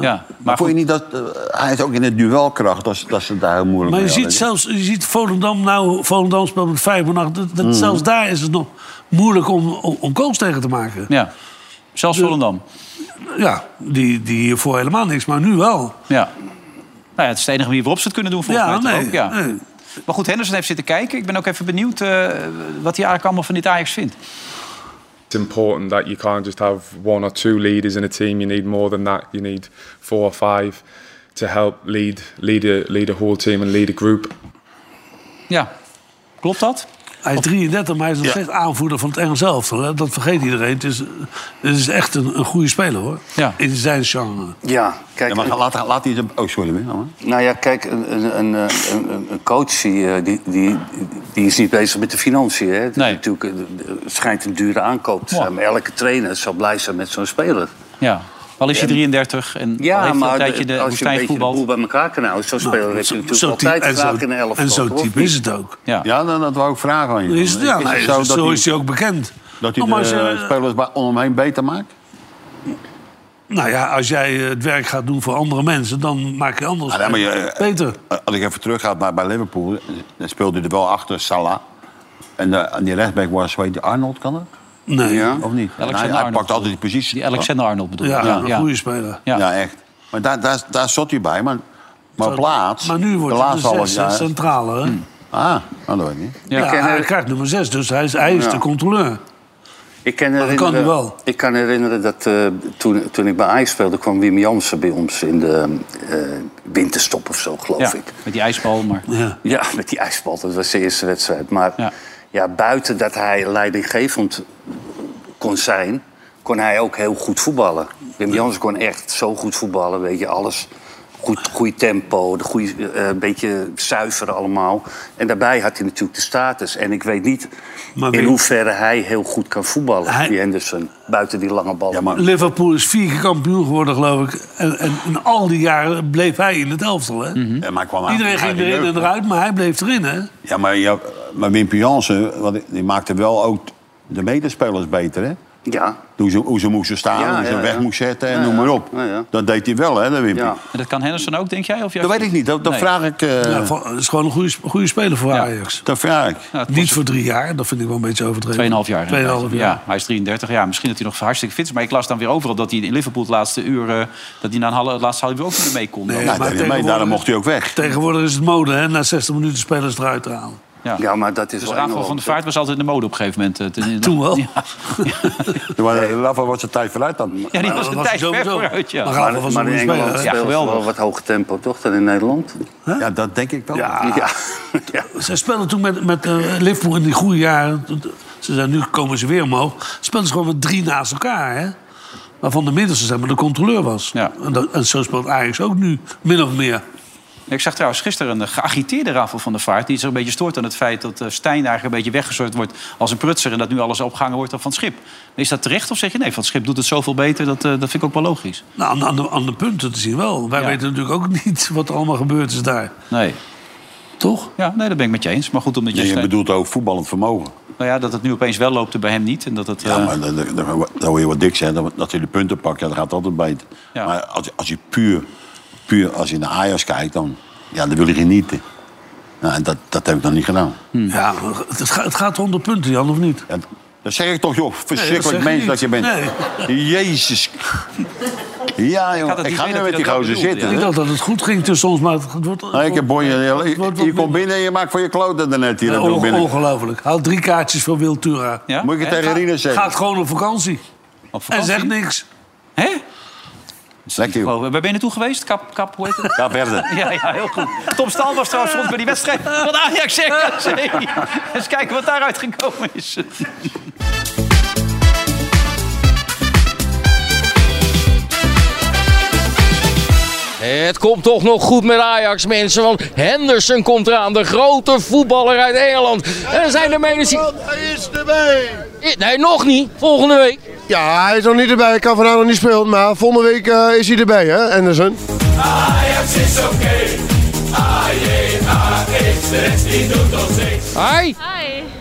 Speaker 2: Ja, maar
Speaker 3: Maar vond je niet dat... eh, hij is ook in het duelkracht, dat, ze- dat ze daar heel moeilijk
Speaker 5: Maar je
Speaker 3: mee
Speaker 5: ziet
Speaker 3: hadden.
Speaker 5: zelfs, je ziet Volendam nou, Volendam speelt met vijf en acht. Dat, dat-
Speaker 4: Hmm.
Speaker 5: Zelfs daar is het nog moeilijk om, om, om goals tegen te maken.
Speaker 2: Ja. Zelfs Volendam.
Speaker 5: Ja, die, die hiervoor helemaal niks, maar nu wel.
Speaker 2: Ja. Nou ja, het is de enige manier waarop ze het kunnen doen volgens
Speaker 5: Ja,
Speaker 2: mij. toch
Speaker 5: nee,
Speaker 2: ook, ja.
Speaker 5: nee.
Speaker 2: Maar goed, Henderson heeft zitten kijken. Ik ben ook even benieuwd eh, wat hij eigenlijk allemaal van dit Ajax vindt.
Speaker 11: It's important that you can't just have one or two leaders in a team. You need more than that. You need four or five to help lead lead a, lead a whole team and lead a group.
Speaker 2: Ja, klopt dat?
Speaker 5: Hij is 33, maar hij is nog
Speaker 11: Ja.
Speaker 5: steeds aanvoerder van het Engels elftal. hè. Dat vergeet iedereen. Het is, het is echt een, een goede speler, hoor. In zijn genre.
Speaker 4: Ja, kijk...
Speaker 5: Ja, maar
Speaker 3: laat, laat die... Oh, sorry.
Speaker 4: Nou ja, kijk, een, een, een, eh, een, een- een coach die, eh, die, die, die is niet bezig met de financiën. Hè? Het, is natuurlijk, eh, het schijnt een dure aankoop te zijn. Maar elke trainer zou blij zijn met zo'n speler.
Speaker 2: Ja. Al is hij
Speaker 4: En-
Speaker 2: 33 en al
Speaker 4: Ja,
Speaker 2: heeft hij een
Speaker 4: maar
Speaker 2: tijdje
Speaker 4: de-
Speaker 2: de
Speaker 4: als je een beetje de
Speaker 2: woestijnvoetbal.
Speaker 4: boel bij elkaar kan houden... zo'n speler heeft natuurlijk altijd vaak in de elf.
Speaker 5: ook.
Speaker 2: Ja,
Speaker 3: ja dan, dat wou ik vragen aan je.
Speaker 5: Is het- ja, nee, zo is hij ook bekend.
Speaker 3: Dat hij
Speaker 5: Maar
Speaker 3: de
Speaker 5: als je-
Speaker 3: eh, spelers bij- om hem heen beter maakt?
Speaker 5: Nou ja, als jij eh, het werk gaat doen voor andere mensen, dan maak je anders.
Speaker 3: Ah, nee, maar je-
Speaker 5: Peter.
Speaker 3: Eh, Als ik even terugga naar bij Liverpool, eh, dan speelde hij er wel achter Salah. En eh, aan die rechtsback was, weet je, Arnold kan dat?
Speaker 5: Nee.
Speaker 3: Ja. Of niet?
Speaker 2: Alexander
Speaker 3: Nou, hij
Speaker 2: Arnold.
Speaker 3: pakt altijd die positie.
Speaker 2: Die Alexander Arnold bedoel ik. Ja, een goede
Speaker 5: speler.
Speaker 3: Ja, echt. Maar daar, daar, daar zat hij bij. Maar, maar op plaats...
Speaker 5: Maar nu wordt
Speaker 3: de
Speaker 5: hij de
Speaker 3: laatste half
Speaker 5: zesde
Speaker 3: jaar...
Speaker 5: centrale. hè?
Speaker 3: Ah, nou, dat weet ik niet.
Speaker 5: Ja, hij krijgt nummer 6, dus hij is, hij is
Speaker 4: Ja.
Speaker 5: de controleur.
Speaker 4: Ik kan
Speaker 5: dat
Speaker 4: herinneren,
Speaker 5: kan nu wel.
Speaker 4: Ik kan herinneren dat eh, toen, toen ik bij Ajax speelde... kwam Wim Jansen bij ons in de eh, winterstop of zo, geloof
Speaker 2: Ja,
Speaker 4: ik.
Speaker 2: met die ijsbal. Maar...
Speaker 5: Ja.
Speaker 4: Ja, met die ijsbal. Dat was de eerste wedstrijd. Maar ja. buiten dat hij leidinggevend kon zijn... kon hij ook heel goed voetballen. Wim Jansen kon echt zo goed voetballen. Weet je, alles... Goed, goed tempo, de goede, eh, beetje zuiver allemaal. En daarbij had hij natuurlijk de status. En ik weet niet
Speaker 5: Maar
Speaker 4: in
Speaker 5: Wim-
Speaker 4: hoeverre hij heel goed kan voetballen, die Henderson. Buiten die lange ballen.
Speaker 5: Liverpool is vier keer kampioen geworden, geloof ik. En, en, en al die jaren bleef hij in het elftal. Hè?
Speaker 2: Mhm.
Speaker 3: Ja, maar hij kwam uit-
Speaker 5: Iedereen
Speaker 3: uit
Speaker 5: ging
Speaker 3: de
Speaker 5: erin
Speaker 3: jeugd.
Speaker 5: en eruit, maar hij bleef erin. Hè?
Speaker 3: Ja, maar, ja, maar Wim Jansen, wat- die maakte wel ook de medespelers beter, hè?
Speaker 4: Ja.
Speaker 3: Hoe ze, hoe ze moesten staan,
Speaker 2: Ja,
Speaker 3: hoe ze
Speaker 2: ja,
Speaker 3: weg
Speaker 2: ja.
Speaker 3: moesten zetten en
Speaker 2: Ja,
Speaker 3: noem
Speaker 2: ja.
Speaker 3: maar op. Dat deed hij wel, hè, de Wimpy?
Speaker 2: En dat kan Henderson ook, denk jij? Of
Speaker 3: Dat weet ik niet, dat, dat vraag ik... eh,
Speaker 5: Ja, van- het is gewoon een goede, goede speler voor Ajax.
Speaker 3: Dat vraag ik.
Speaker 2: Nou,
Speaker 5: Niet voor drie jaar, dat vind ik wel een beetje overdreven.
Speaker 2: Tweeënhalf jaar.
Speaker 5: Tweeënhalf
Speaker 2: inderdaad.
Speaker 5: jaar.
Speaker 2: Ja, hij is 33 jaar. Misschien dat hij nog hartstikke fit is. Maar ik las dan weer overal dat hij in Liverpool het laatste uur... eh, dat hij na een halve, het laatste half uur ook niet meer mee kon.
Speaker 5: Nee,
Speaker 2: Dan-
Speaker 3: Nou,
Speaker 5: maar tegenwoordig-
Speaker 3: weg.
Speaker 5: Tegenwoordig is het mode, hè? Na 60 minuten spelers eruit te halen.
Speaker 2: Ja.
Speaker 4: maar dat is
Speaker 2: Dus
Speaker 4: wel
Speaker 2: Rafael
Speaker 4: Engeland,
Speaker 2: van der Vaart was altijd in de mode op een gegeven moment. eh, ten-
Speaker 5: Ah, Toen wel.
Speaker 2: Ja,
Speaker 3: Maar Rafa was een tijd vooruit dan.
Speaker 2: Ja, die was een tijd ver
Speaker 5: sowieso.
Speaker 2: vooruit, ja.
Speaker 4: Maar, maar in Engeland speelt ze wel wat hoger tempo, toch, dan in Nederland?
Speaker 2: Oh.
Speaker 3: Ja, dat denk ik wel.
Speaker 5: Ja.
Speaker 4: ja.
Speaker 5: Ze speelden toen met, met eh, Liverpool in die goede jaren. Ze zijn, nu komen ze weer omhoog. Speelden ze gewoon met drie naast elkaar, hè? Waarvan de middelste zeg maar de controleur was. En, dat, en zo speelt Ajax ook nu, min of meer.
Speaker 2: Ik zag trouwens gisteren een geagiteerde Rafael van der Vaart... die zich een beetje stoort aan het feit dat eh, Stijn eigenlijk een beetje weggezorgd wordt... als een prutser en dat nu alles opgehangen wordt dan van het schip. Is dat terecht of zeg je nee, van het schip doet het zoveel beter... dat, eh, dat vind ik ook wel logisch.
Speaker 5: Nou, aan, de- aan de, aan de punten te zien wel. Wij weten natuurlijk ook niet wat er allemaal gebeurd is daar.
Speaker 2: Nee.
Speaker 5: Toch?
Speaker 2: Ja, nee, dat ben ik met je eens. Maar goed, omdat je...
Speaker 3: Nee, je
Speaker 2: Stijn-
Speaker 3: bedoelt ook voetballend vermogen.
Speaker 2: Nou ja, dat het nu opeens wel loopt en bij hem niet. En dat het,
Speaker 3: Ja,
Speaker 2: eh,
Speaker 3: maar dat, dat, dat, dat wil je wat dik zijn. Dat, dat hij de punten pakt, ja, dat gaat altijd beter. Maar als, als je puur, puur als je naar Ajax kijkt, dan, ja, dan wil je genieten. Nou, en dat, dat heb ik nog niet gedaan.
Speaker 5: Ja, maar het, gaat- het gaat om de punten, Jan, of niet?
Speaker 3: Dat zeg ik toch, joh.
Speaker 5: Nee, dat
Speaker 3: Verschrikkelijk
Speaker 5: zeg je
Speaker 3: mens dat je
Speaker 5: niet.
Speaker 3: bent. Jezus. Ja, joh. Ik ga nu met die gozer zitten.
Speaker 5: Ik
Speaker 3: hè.
Speaker 5: dacht dat het goed ging tussen ons, maar het het wordt...
Speaker 3: Nou, ik heb bonje, je, je komt binnen en je maakt voor je kloten daarnet hier.
Speaker 5: Eh, Onge-
Speaker 3: naartoe binnen.
Speaker 5: ongelooflijk. Haal drie kaartjes voor Wiltura.
Speaker 3: Ja? Moet ik het tegen
Speaker 5: Ga-
Speaker 3: Rinus zeggen?
Speaker 5: Gaat gewoon op vakantie. En
Speaker 2: vakantie?
Speaker 5: zegt niks.
Speaker 2: Hè?
Speaker 3: Lekker,
Speaker 2: Oh, waar ben je naartoe geweest? Kap, kap hoe heet het?
Speaker 3: Kaap
Speaker 2: Ja, ja, heel goed. Tom Staal was trouwens rond bij die wedstrijd van Ajax RKC. Eens kijken wat daaruit gekomen is.
Speaker 12: Het komt toch nog goed met Ajax, mensen. Want Henderson komt eraan, de grote voetballer uit Engeland. En er zijn er mensen... Hij is erbij! Nee, nog niet. Volgende week.
Speaker 13: Ja, hij is nog niet erbij. Ik kan vanavond nog niet spelen. Maar volgende week eh, is hij erbij, hè, Anderson?
Speaker 14: Ajax is oké. Ajax, Resti doet ons niks.
Speaker 12: Hi.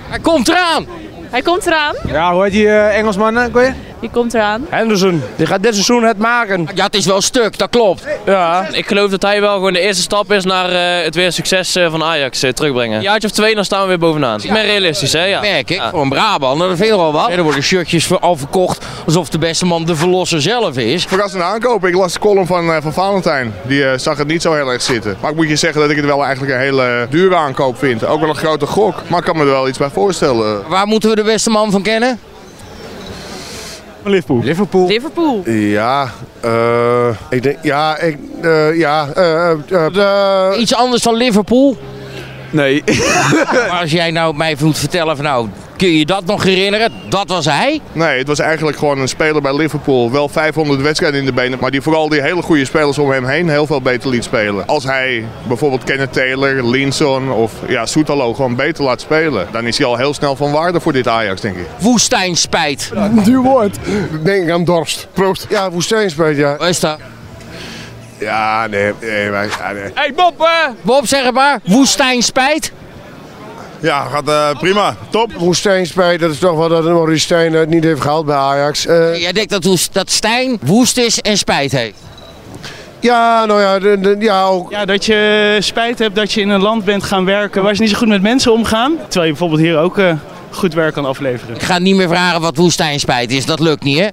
Speaker 12: Hij komt eraan.
Speaker 15: Hij komt eraan.
Speaker 16: Ja, hoe heet die eh, Engelsman ook weer? Die komt eraan. Henderson, die gaat dit seizoen het maken.
Speaker 12: Ja, het is wel stuk, dat klopt.
Speaker 16: Ja.
Speaker 17: Ik geloof dat hij wel gewoon de eerste stap is naar eh, het weer succes eh, van Ajax eh, terugbrengen. Een jaartje of twee, dan staan we weer bovenaan. Ik ben realistisch, hè? Ja.
Speaker 12: Merk ik, voor een Brabander, dat vind ik wel wat. Er worden shirtjes voor- al verkocht alsof de beste man de verlosser zelf is.
Speaker 18: Verrassende aankoop. Ik las de column van, eh, van Valentijn. Die eh, zag het niet zo heel erg zitten. Maar ik moet je zeggen dat ik het wel eigenlijk een hele dure aankoop vind. Ook wel een grote gok. Maar ik kan me er wel iets bij voorstellen.
Speaker 12: Waar moeten we de beste man van kennen?
Speaker 18: Liverpool. Liverpool.
Speaker 15: Liverpool.
Speaker 18: Ja, eh, ik denk, ja, ik, eh, ja, eh, eh, de...
Speaker 12: Iets anders dan Liverpool?
Speaker 18: Nee.
Speaker 12: maar als jij nou mij moet vertellen van nou, kun je dat nog herinneren? Dat was hij?
Speaker 18: Nee, het was eigenlijk gewoon een speler bij Liverpool. Wel 500 wedstrijden in de benen, maar die vooral die hele goede spelers om hem heen heel veel beter liet spelen. Als hij bijvoorbeeld Kenneth Taylor, Linson of ja, Soetalo gewoon beter laat spelen, dan is hij al heel snel van waarde voor dit Ajax, denk ik.
Speaker 12: Woestijn spijt.
Speaker 18: Duur woord. Denk aan dorst. Proost. Ja, woestijnspeet, ja.
Speaker 12: Waar is dat?
Speaker 18: Ja, nee, nee, wij- ja, nee.
Speaker 12: Hé hey Bob! Bob, zeg het maar. Woestijn spijt.
Speaker 18: Ja, gaat eh, prima. Top.
Speaker 13: Woestijn spijt, dat is toch wel dat Maurice Stijn het niet heeft gehaald bij Ajax. Eh,
Speaker 12: Jij denkt dat, Woes- dat Stijn woest is en spijt heeft.
Speaker 13: ja, nou ja, de- de- ja, ook.
Speaker 19: Ja, dat je spijt hebt dat je in een land bent gaan werken waar ze niet zo goed met mensen omgaan. Terwijl je bijvoorbeeld hier ook eh, goed werk kan afleveren.
Speaker 12: Ik ga niet meer vragen wat woestijn spijt is. Dat lukt niet, hè?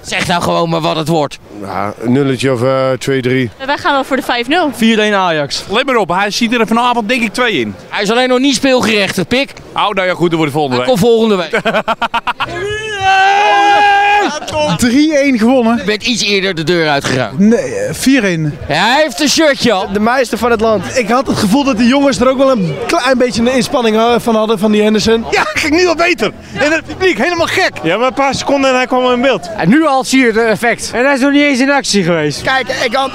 Speaker 12: Zeg nou gewoon maar wat het wordt.
Speaker 13: Ja, een nulletje of eh 2-3.
Speaker 15: Wij gaan wel voor de 5-0.
Speaker 20: 4-1 Ajax. Let maar op, hij ziet er vanavond denk ik twee in.
Speaker 12: Hij is alleen nog niet speelgerechtig, pik.
Speaker 20: Oh, nou ja, goed, dan wordt het volgende
Speaker 12: Kom
Speaker 20: week.
Speaker 12: volgende week.
Speaker 21: 3-1 gewonnen.
Speaker 12: Je bent iets eerder de deur uitgegaan.
Speaker 21: Nee, eh, 4-1.
Speaker 12: hij heeft een shirtje al.
Speaker 21: De meester van het land. Ik had het gevoel dat die jongens er ook wel een klein beetje een inspanning eh, van hadden, van die Henderson. Ja, ging nu al beter. En het publiek, helemaal gek. Ja, maar een paar seconden en hij kwam in beeld. En nu al zie je het effect. En hij is nog niet eens in actie geweest. Kijk, ik had...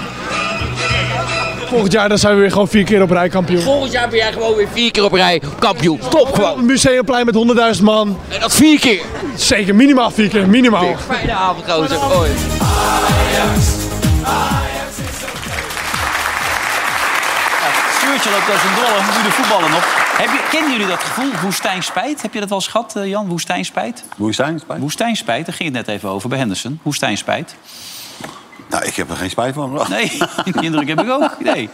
Speaker 21: Volgend jaar dan zijn we weer gewoon vier keer op rij kampioen.
Speaker 12: Volgend jaar ben jij gewoon weer vier keer op rij kampioen. Top gewoon.
Speaker 21: Een museumplein met 100.000 man.
Speaker 12: En dat vier keer.
Speaker 21: Zeker, minimaal vier keer, minimaal.
Speaker 12: Fijne avond, gozer. Hoi.
Speaker 2: Stuurtje loopt als een dolle, moet u de voetballen nog. Heb je, kennen jullie dat gevoel, woestijnspijt? Heb je dat wel eens gehad, eh, Jan, woestijnspijt?
Speaker 3: Woestijnspijt?
Speaker 2: Woestijnspijt, daar ging het net even over bij Henderson. Woestijnspijt.
Speaker 3: Nou, ik heb er geen spijt van.
Speaker 2: Nee, die indruk heb ik ook. Nee.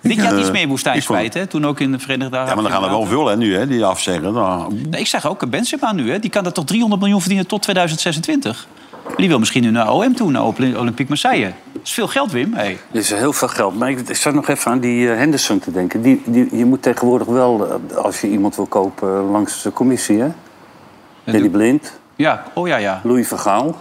Speaker 2: Dit jaar
Speaker 3: eh,
Speaker 2: iets meer
Speaker 3: ik vond-
Speaker 2: woestijnspijt, hè? Toen ook in de Verenigde Arabische
Speaker 3: Ja, maar dan gaan er wel
Speaker 2: Emiraten.
Speaker 3: veel hè, nu, hè, die afzeggen. Nou,
Speaker 2: Nee, ik zeg ook, een Benzema nu, hè? die kan dat toch 300 miljoen verdienen tot 2026? Maar die wil misschien nu naar OM toe, naar Olymp- Olympique Marseille. Dat is veel geld, Wim. Hey.
Speaker 4: Er is heel veel geld. Maar ik ik zat nog even aan die eh, Henderson te denken. Die, die, je moet tegenwoordig wel, eh, als je iemand wil kopen, eh, langs de commissie, hè? Danny Blind,
Speaker 2: Ja, oh ja, ja.
Speaker 4: Louis van Gaal.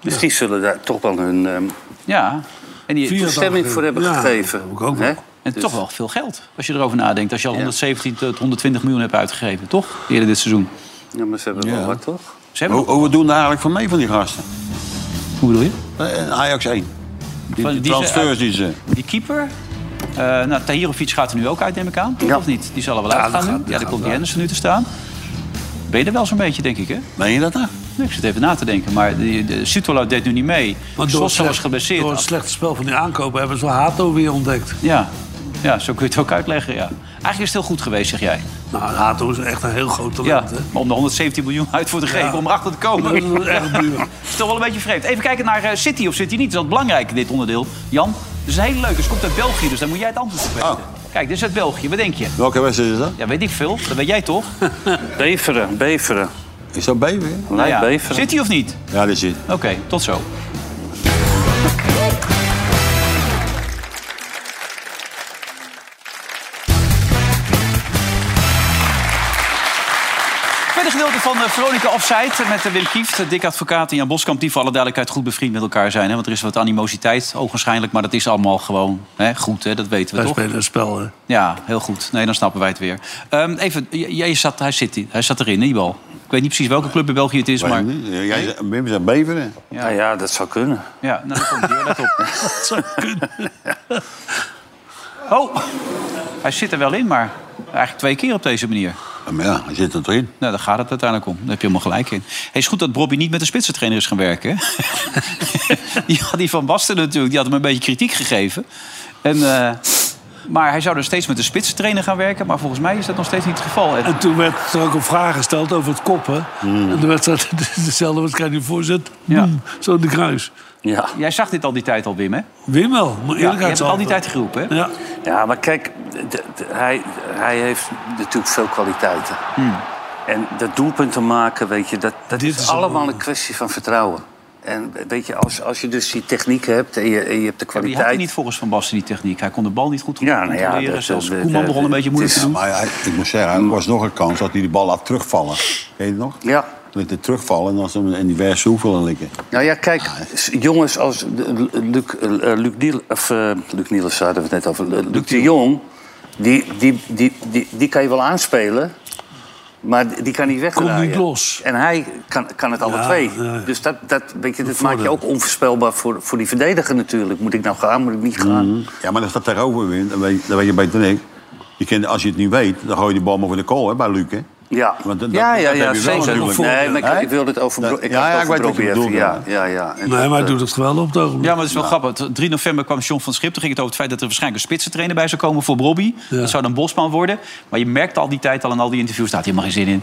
Speaker 4: Dus die zullen daar toch wel hun ehm
Speaker 2: Ja. En die
Speaker 4: toestemming voor hebben gegeven. Hè?
Speaker 2: En
Speaker 4: Dus-
Speaker 2: toch wel veel geld, als je erover nadenkt. Als je al 117 tot 120 miljoen hebt uitgegeven, toch? Eerder dit seizoen.
Speaker 4: Ja, maar ze hebben wel wat, toch?
Speaker 2: Ze hebben
Speaker 3: hoe, hoe doen daar eigenlijk van mee van die gasten? Oh.
Speaker 2: Hoe bedoel je?
Speaker 3: Eh, Ajax 1. Die,
Speaker 2: Van-
Speaker 3: die
Speaker 2: die ze-
Speaker 3: transfers die ze...
Speaker 2: Die keeper... eh nou, Tahirovic gaat er nu ook uit, neem ik aan. Toch of niet? Die zal er wel
Speaker 3: Ja,
Speaker 2: uitgaan
Speaker 3: dat gaat-
Speaker 2: nu.
Speaker 3: dat
Speaker 2: Ja,
Speaker 3: gaat
Speaker 2: daar komt die
Speaker 3: wel.
Speaker 2: Henderson nu te staan. Ben je er wel zo'n beetje, denk ik, hè?
Speaker 3: Meen je dat nou?
Speaker 2: Nee, ik zit even na te denken. Maar die- de Sutolo deed nu niet mee.
Speaker 5: Maar door,
Speaker 2: Sosa was
Speaker 5: slecht,
Speaker 2: geblesseerd.
Speaker 5: door het slechte spel van die aankopen hebben ze Hato weer ontdekt.
Speaker 2: Ja. ja, zo kun je het ook uitleggen, ja. Eigenlijk is het heel goed geweest, zeg jij.
Speaker 5: Nou, Hato is echt een heel groot talent.
Speaker 2: Ja, maar om de 117 miljoen uit voor te geven om erachter te komen.
Speaker 5: Dat is echt duur.
Speaker 2: is toch wel een beetje vreemd. Even kijken naar eh, City of City niet. Dat is wel belangrijk, dit onderdeel. Jan, dat is een hele leuke. Het komt uit België, dus daar moet jij het antwoord op weten. Kijk, dit is uit België. Wat denk je?
Speaker 3: Welke wedstrijd is dat?
Speaker 2: Ja, weet ik veel. Dat weet jij toch?
Speaker 4: Beveren, Beveren.
Speaker 3: Is dat Beveren?
Speaker 2: Nou ja, City of niet?
Speaker 3: Ja, dat zit.
Speaker 2: Oké, tot zo. Verder gedeelte doelpunten van eh, Veronica Offside met eh, Wim Kieft. Dick Advocaat en Jan Boskamp, die voor alle duidelijkheid goed bevriend met elkaar zijn. Hè? Want er is wat animositeit, ogenschijnlijk. Maar dat is allemaal gewoon hè, goed, hè? dat weten we
Speaker 5: Wij
Speaker 2: toch?
Speaker 5: spelen een spel, hè.
Speaker 2: Ja, heel goed. Nee, dan snappen wij het weer. Ehm, even, j- jij zat, hij, zit, hij zat erin, hè, die bal. Ik weet niet precies welke club in België het is, maar...
Speaker 3: Jij, Wim zegt Beveren.
Speaker 2: Ja.
Speaker 4: Nou ja, dat zou kunnen.
Speaker 2: Ja, nou, dat komt weer, let op. dat zou kunnen. Oh, hij zit er wel in, maar eigenlijk twee keer op deze manier.
Speaker 3: Maar ja, hij zit er toch in?
Speaker 2: Nou, daar gaat het uiteindelijk om. Daar heb je helemaal gelijk in. Het is goed dat Bobby niet met de spitsentrainer is gaan werken. hè? die, had die van Basten natuurlijk, die had hem een beetje kritiek gegeven. En, eh, maar hij zou er steeds met de spitsentrainer gaan werken. Maar volgens mij is dat nog steeds niet het geval. Ed.
Speaker 5: En toen werd er ook een vraag gesteld over het koppen. En toen werd dat dezelfde wedstrijd die voorzet.
Speaker 2: Ja.
Speaker 5: Mm, Zo in de kruis.
Speaker 4: Ja.
Speaker 2: Jij zag dit al die tijd al, Wim, hè?
Speaker 5: Wim wel, maar
Speaker 2: Ja, je
Speaker 5: eerlijk
Speaker 2: hebt het al die tijd geroepen, hè?
Speaker 5: Ja.
Speaker 4: Ja, maar kijk, d- d- hij, hij heeft natuurlijk veel kwaliteiten. En dat doelpunten maken, weet je, dat, dat Hmm. is, allemaal een kwestie van vertrouwen. En weet je, als, als je dus die techniek hebt en je, en je hebt de
Speaker 2: Die had hij
Speaker 4: kwaliteit...
Speaker 2: niet volgens Van Basten, die techniek. Hij kon de bal niet goed
Speaker 4: nou ja,
Speaker 2: controleren.
Speaker 4: dat-
Speaker 2: Zelfs
Speaker 4: dat-
Speaker 2: Koeman
Speaker 4: dat-
Speaker 2: begon een beetje moeilijk te
Speaker 3: Ja,
Speaker 2: doen.
Speaker 3: maar hij- ik moet zeggen, er was nog een kans dat hij die bal laat terugvallen. Weet je het nog?
Speaker 4: Ja.
Speaker 3: Liet het terugvallen en dan ze hem in die verse hoeveel likken.
Speaker 4: Nou ja, kijk,
Speaker 3: Ah,
Speaker 4: s- jongens als eh, Luc, eh, Luc, Niel, of, eh, Luc Niels hadden we het net over. Eh, Luc de Jong, die, die, die, die, die kan je wel aanspelen, maar die- die kan niet wegdraaien.
Speaker 5: Komt niet los.
Speaker 4: En hij kan, kan het alle
Speaker 5: Ja,
Speaker 4: twee.
Speaker 5: ja, ja.
Speaker 4: Dus dat, dat, weet je, dat maakt je ook onvoorspelbaar voor, voor die verdediger natuurlijk. Moet ik nou gaan, moet ik niet gaan?
Speaker 3: Ja, maar als dat tegenover wint, dan weet, dan weet je beter dan ik. Je kent, als je het niet weet, dan gooi je die bal maar voor de kool hè, bij Luc. Hè?
Speaker 4: Ja,
Speaker 3: Want dat-
Speaker 4: ja,
Speaker 3: dat-
Speaker 4: ja,
Speaker 3: dat
Speaker 4: ja
Speaker 3: heb je wel
Speaker 4: zeker.
Speaker 3: natuurlijk.
Speaker 4: Nee, maar ik,
Speaker 3: Hè?
Speaker 4: ik wilde het over... Bro- Ik
Speaker 3: Ja,
Speaker 4: had
Speaker 3: ja,
Speaker 4: het over
Speaker 3: ik weet wat je
Speaker 4: Brobbey
Speaker 3: bedoelt,
Speaker 4: even.
Speaker 3: ja.
Speaker 4: Ja, ja, ja. En
Speaker 5: Nee,
Speaker 4: dat,
Speaker 5: maar hij
Speaker 4: eh,
Speaker 5: doet het geweldig op het ogenblik.
Speaker 2: Ja, maar dat is wel grappig. 3 november kwam John van Schip. Toen ging het over het feit dat er waarschijnlijk een spitsentrainer bij zou komen voor Bobby. Dat zou dan Bosman worden. Maar je merkt al die tijd al in al die interviews, daar had hij helemaal geen zin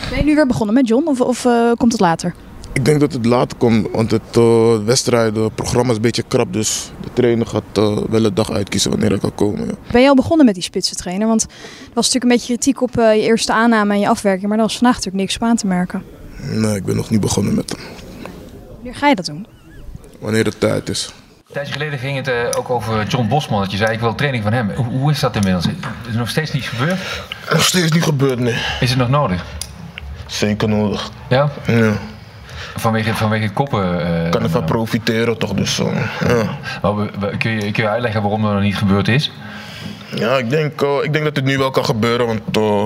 Speaker 2: in.
Speaker 1: Ben je nu weer begonnen met John of, of eh, komt het later?
Speaker 22: Ik denk dat het later komt, want het eh, wedstrijden, het programma is een beetje krap. Dus de trainer gaat eh, wel een dag uitkiezen wanneer ik kan komen. Ja.
Speaker 1: Ben je al begonnen met die spitsentrainer? Want er was natuurlijk een beetje kritiek op eh, je eerste aanname en je afwerking. Maar daar was vandaag natuurlijk niks op aan te merken.
Speaker 22: Nee, ik ben nog niet begonnen met hem.
Speaker 1: Wanneer ga je dat doen?
Speaker 22: Wanneer het tijd is.
Speaker 23: Een tijdje geleden ging het eh, ook over John Bosman. Dat je zei, ik wil training van hem. Hoe, hoe is dat inmiddels? Is het nog steeds niet gebeurd?
Speaker 22: Nog steeds niet gebeurd, nee.
Speaker 23: Is het nog nodig?
Speaker 22: Zeker nodig.
Speaker 23: Ja?
Speaker 22: Ja.
Speaker 23: Vanwege, vanwege koppen? eh,
Speaker 22: Ik kan ervan profiteren toch, dus eh, ja.
Speaker 23: maar we- we- kun, je, kun je uitleggen waarom dat nog niet gebeurd is?
Speaker 22: Ja, ik denk, eh, ik denk dat het nu wel kan gebeuren, want eh,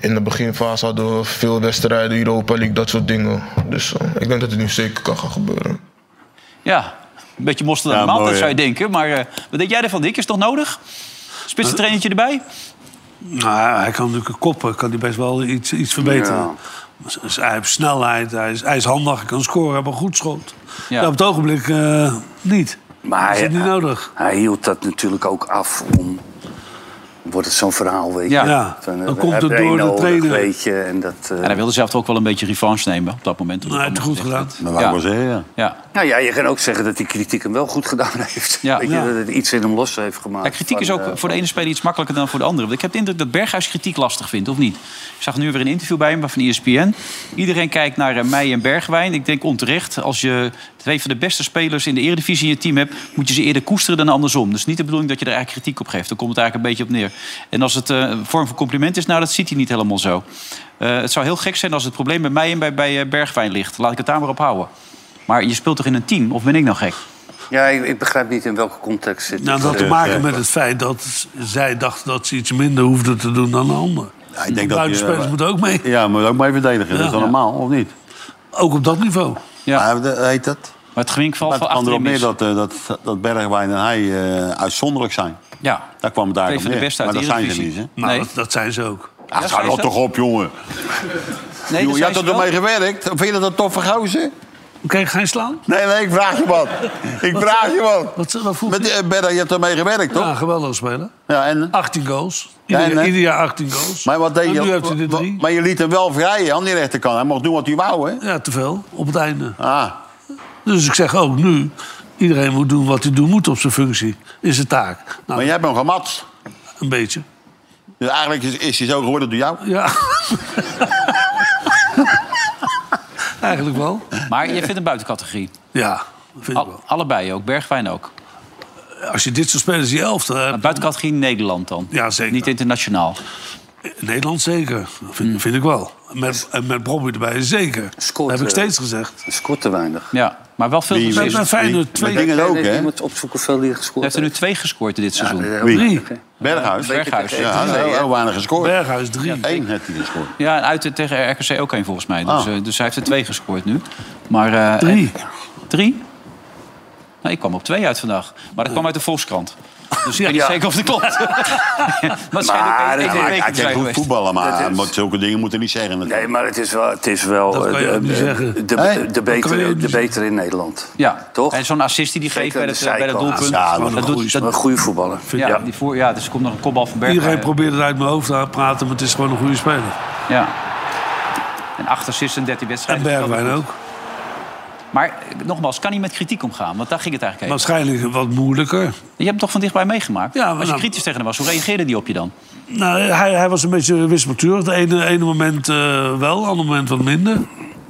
Speaker 22: in de beginfase hadden we veel wedstrijden, Europa League, dat soort dingen. Dus eh, ik denk dat het nu zeker kan gaan gebeuren.
Speaker 2: Ja, een beetje mosterd aan
Speaker 22: Ja,
Speaker 2: de maaltijd
Speaker 22: mooi,
Speaker 2: zou je
Speaker 22: hè?
Speaker 2: denken. Maar eh, wat denk jij ervan, Dick? Is het nog nodig? Spitsentrainertje erbij?
Speaker 5: Nou, hij kan natuurlijk koppen, kan hij best wel iets, iets verbeteren. Dus Hij heeft snelheid, hij is, hij is handig, hij kan scoren, hij heeft een goed schot. Ja. op het ogenblik eh, niet.
Speaker 4: Maar
Speaker 5: is
Speaker 4: hij,
Speaker 5: het niet
Speaker 4: hij-
Speaker 5: nodig.
Speaker 4: Hij hield dat natuurlijk ook af om... Wordt het zo'n verhaal, weet je?
Speaker 2: Ja. Ja,
Speaker 4: Van, eh,
Speaker 5: dan
Speaker 4: we
Speaker 5: komt het
Speaker 4: hebben één
Speaker 5: door de
Speaker 4: nodig,
Speaker 5: trainer.
Speaker 4: Weet je, en dat, eh,
Speaker 2: En hij wilde zelf toch ook wel een beetje revanche nemen op dat moment.
Speaker 4: Nou, hij heeft het goed gedaan. Dat wou ik
Speaker 2: ja.
Speaker 4: wel
Speaker 3: zeggen, ja.
Speaker 4: Nou ja, je kan ook zeggen dat die kritiek hem wel goed gedaan heeft.
Speaker 2: Ja.
Speaker 4: Weet je,
Speaker 2: Ja.
Speaker 4: dat het iets in hem los heeft gemaakt.
Speaker 2: Ja, Nou, kritiek is
Speaker 4: Van,
Speaker 2: ook
Speaker 4: eh,
Speaker 2: voor de ene speler iets makkelijker dan voor de andere. Want ik heb de indruk dat Berghuis kritiek lastig vindt, of niet? Ik zag nu weer een interview bij hem van E ESPN. Iedereen kijkt naar eh, mij en Bergwijn. Ik denk onterecht, als je twee van de beste spelers in de eredivisie in je team hebt... moet je ze eerder koesteren dan andersom. Dus niet de bedoeling dat je er eigenlijk kritiek op geeft. Daar komt het eigenlijk een beetje op neer. En als het eh, een vorm van compliment is, nou, dat ziet hij niet helemaal zo. Eh, het zou heel gek zijn als het probleem bij mij en bij, bij eh, Bergwijn ligt. Laat ik het daar maar op houden. Maar je speelt toch in een team, of ben ik nou gek?
Speaker 4: Ja, ik, ik begrijp niet in welke context eh, dit
Speaker 5: Nou,
Speaker 4: is.
Speaker 5: dat had te maken met het feit dat zij dachten dat ze iets minder hoefden te doen dan de ander.
Speaker 3: Ja, ik denk dat
Speaker 5: Buitenspelers
Speaker 3: je-
Speaker 5: moeten ook mee.
Speaker 3: Ja, maar ook mee verdedigen. Dat is wel
Speaker 5: Ja.
Speaker 3: normaal, of niet?
Speaker 5: Ook op dat niveau.
Speaker 3: Ja. heet dat?
Speaker 2: Maar het ging
Speaker 3: Maar
Speaker 2: van
Speaker 3: het kwam
Speaker 2: achterin
Speaker 3: erop neer
Speaker 2: mis.
Speaker 3: dat, eh, dat, dat Bergwijn en hij eh, uitzonderlijk zijn.
Speaker 2: Ja.
Speaker 3: Daar kwam het
Speaker 2: Twee
Speaker 3: eigenlijk
Speaker 2: van
Speaker 3: op
Speaker 2: de
Speaker 3: neer.
Speaker 2: beste uit
Speaker 3: Maar
Speaker 2: de
Speaker 3: dat zijn ze niet,
Speaker 2: Eredivisie.
Speaker 3: hè?
Speaker 5: Nou, dat, dat zijn ze ook.
Speaker 3: Ja, ga dat toch op, jongen.
Speaker 2: Nee,
Speaker 3: Jongen, je
Speaker 5: zijn
Speaker 3: hebt
Speaker 5: ze
Speaker 3: er toch
Speaker 5: wel.
Speaker 3: mee gewerkt? Vind je dat een toffe gozer?
Speaker 5: Oké, ga je slaan?
Speaker 3: Nee, nee, ik vraag je wat. ik
Speaker 5: Wat
Speaker 3: vraag
Speaker 5: zei-
Speaker 3: je wat.
Speaker 5: Wat, wat vroeg
Speaker 3: Met, eh, Berra, je hebt ermee gewerkt, toch?
Speaker 5: Ja, geweldig spelen.
Speaker 3: Ja, en?
Speaker 5: 18 goals. Ieder,
Speaker 3: Ja, en, hè?
Speaker 5: ieder jaar 18 goals.
Speaker 3: Maar wat deed
Speaker 5: En
Speaker 3: je?
Speaker 5: nu heeft hij er
Speaker 3: wa-
Speaker 5: drie.
Speaker 3: Maar je liet hem wel vrij hè, aan die rechterkant. Hij mocht doen wat hij wou, hè?
Speaker 5: Ja, te veel. Op het einde.
Speaker 3: Ah.
Speaker 5: Dus ik zeg ook nu, iedereen moet doen wat hij doen moet op zijn functie. Is zijn taak. Nou,
Speaker 3: maar jij hebt hem gematst.
Speaker 5: Een beetje.
Speaker 3: Dus eigenlijk is, is hij zo geworden door jou?
Speaker 5: Ja. Eigenlijk wel.
Speaker 2: Maar je vindt een buitencategorie.
Speaker 5: Ja,
Speaker 2: Al- allebei ook, Bergwijn ook.
Speaker 5: Als je dit soort spelers die elfte hebt...
Speaker 2: Buitencategorie Nederland dan?
Speaker 5: Ja, zeker.
Speaker 2: Niet internationaal.
Speaker 5: In Nederland zeker, vind, vind ik wel. Met, en met Bobby erbij zeker. dat heb ik steeds gezegd.
Speaker 4: Scoort te weinig.
Speaker 2: Ja, maar wel veel
Speaker 5: Wie-
Speaker 2: gescoord.
Speaker 5: Met- met Feyenoord Wie- twee- met dingen ook, hè?
Speaker 4: Je moet opzoeken hoeveel die gescoord
Speaker 2: Hij heeft er nu twee gescoord dit seizoen.
Speaker 3: Wie? Berghuis.
Speaker 2: Berghuis.
Speaker 3: Ja, hij heeft heel weinig gescoord.
Speaker 5: Berghuis drie.
Speaker 3: Eén heeft hij gescoord.
Speaker 2: Ja, en uit tegen RKC ook één volgens mij. Dus,
Speaker 3: Ah.
Speaker 2: eh, dus hij heeft er twee gescoord nu. Maar, eh,
Speaker 5: Drie.
Speaker 2: en- drie? Nou, ik kwam op twee uit vandaag. Maar dat kwam uit de Volkskrant. Dus ik weet niet zeker of het klopt. maar
Speaker 4: Maar
Speaker 2: schijnlijk
Speaker 4: hij-
Speaker 2: even
Speaker 4: hij-
Speaker 2: een
Speaker 4: hij
Speaker 2: week
Speaker 4: kijkt
Speaker 2: zijn
Speaker 4: goed
Speaker 2: geweest.
Speaker 3: voetballen, maar
Speaker 4: Dat
Speaker 3: hij
Speaker 4: is-
Speaker 3: moet zulke dingen moeten niet zeggen.
Speaker 4: Nee, maar het is wel, het is wel
Speaker 3: Dat kan je
Speaker 4: eh,
Speaker 3: ook niet
Speaker 4: eh,
Speaker 3: zeggen.
Speaker 4: de, de,
Speaker 3: Hè?
Speaker 4: de,
Speaker 3: Dat kan je
Speaker 4: betere,
Speaker 3: ook
Speaker 4: de betere in Nederland.
Speaker 2: Ja,
Speaker 4: Toch?
Speaker 2: En zo'n assist die die geeft bij
Speaker 4: aan
Speaker 2: dat,
Speaker 4: de
Speaker 2: eh, bij dat
Speaker 4: zijkant.
Speaker 2: doelpunt.
Speaker 4: Ja,
Speaker 2: dat
Speaker 4: een goeie-
Speaker 2: dat-
Speaker 4: een goede voetballer.
Speaker 2: Ja, Die voor, ja, dus er komt nog een kopbal van Berghuis.
Speaker 5: Iedereen probeert het uit mijn hoofd te praten, maar het is gewoon een goede speler.
Speaker 2: Ja. En 8 assists en 13 wedstrijden.
Speaker 5: En Bergwijn
Speaker 2: Dat is goed. Maar eh, nogmaals, kan hij met kritiek omgaan? Want daar ging het eigenlijk even.
Speaker 5: Waarschijnlijk wat moeilijker. Je
Speaker 2: hebt hem toch van dichtbij meegemaakt?
Speaker 5: Ja, maar
Speaker 2: Als je
Speaker 5: nou-
Speaker 2: kritisch tegen hem was, hoe reageerde hij op je dan?
Speaker 5: Nou, hij, hij was een beetje wispelturig. Het ene, ene moment eh, wel, ander moment wat minder.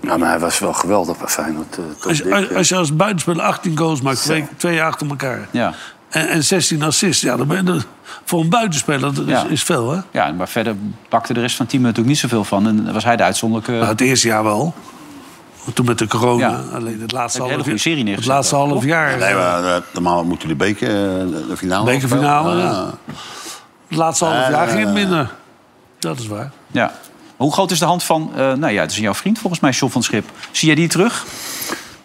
Speaker 4: Nou, maar hij was wel geweldig bij Feyenoord. eh, toch,
Speaker 5: Als, je-
Speaker 4: Dick?
Speaker 5: als, als je als buitenspeler 18 goals maakt, twee, twee jaar achter elkaar.
Speaker 2: Ja.
Speaker 5: En, en 16 assists, ja, dan ben je, dat- voor een buitenspeler dat is,
Speaker 2: Ja.
Speaker 5: is veel, hè? Nou,
Speaker 2: Ja, maar verder pakte de rest van het team er natuurlijk niet zoveel van. En was hij de uitzonderlijke...
Speaker 5: Nou, het eerste jaar wel. Want toen met de corona,
Speaker 2: Ja.
Speaker 5: alleen
Speaker 2: Heb
Speaker 5: het laatste
Speaker 2: je
Speaker 5: half
Speaker 2: een hele goede serie
Speaker 5: jaar.
Speaker 2: neergezet,
Speaker 5: Het laatste
Speaker 2: toch?
Speaker 5: half jaar.
Speaker 3: Nee, maar eh, normaal moeten de beker, eh, de finale.
Speaker 5: Bekerfinale,
Speaker 3: spelen.
Speaker 5: ja. Het laatste half
Speaker 3: Eh,
Speaker 5: jaar ging het
Speaker 3: eh,
Speaker 5: minder. Dat is waar.
Speaker 2: Ja. Maar hoe groot is de hand van... eh, nou ja, het is jouw vriend volgens mij, John van Schip. Zie jij die terug?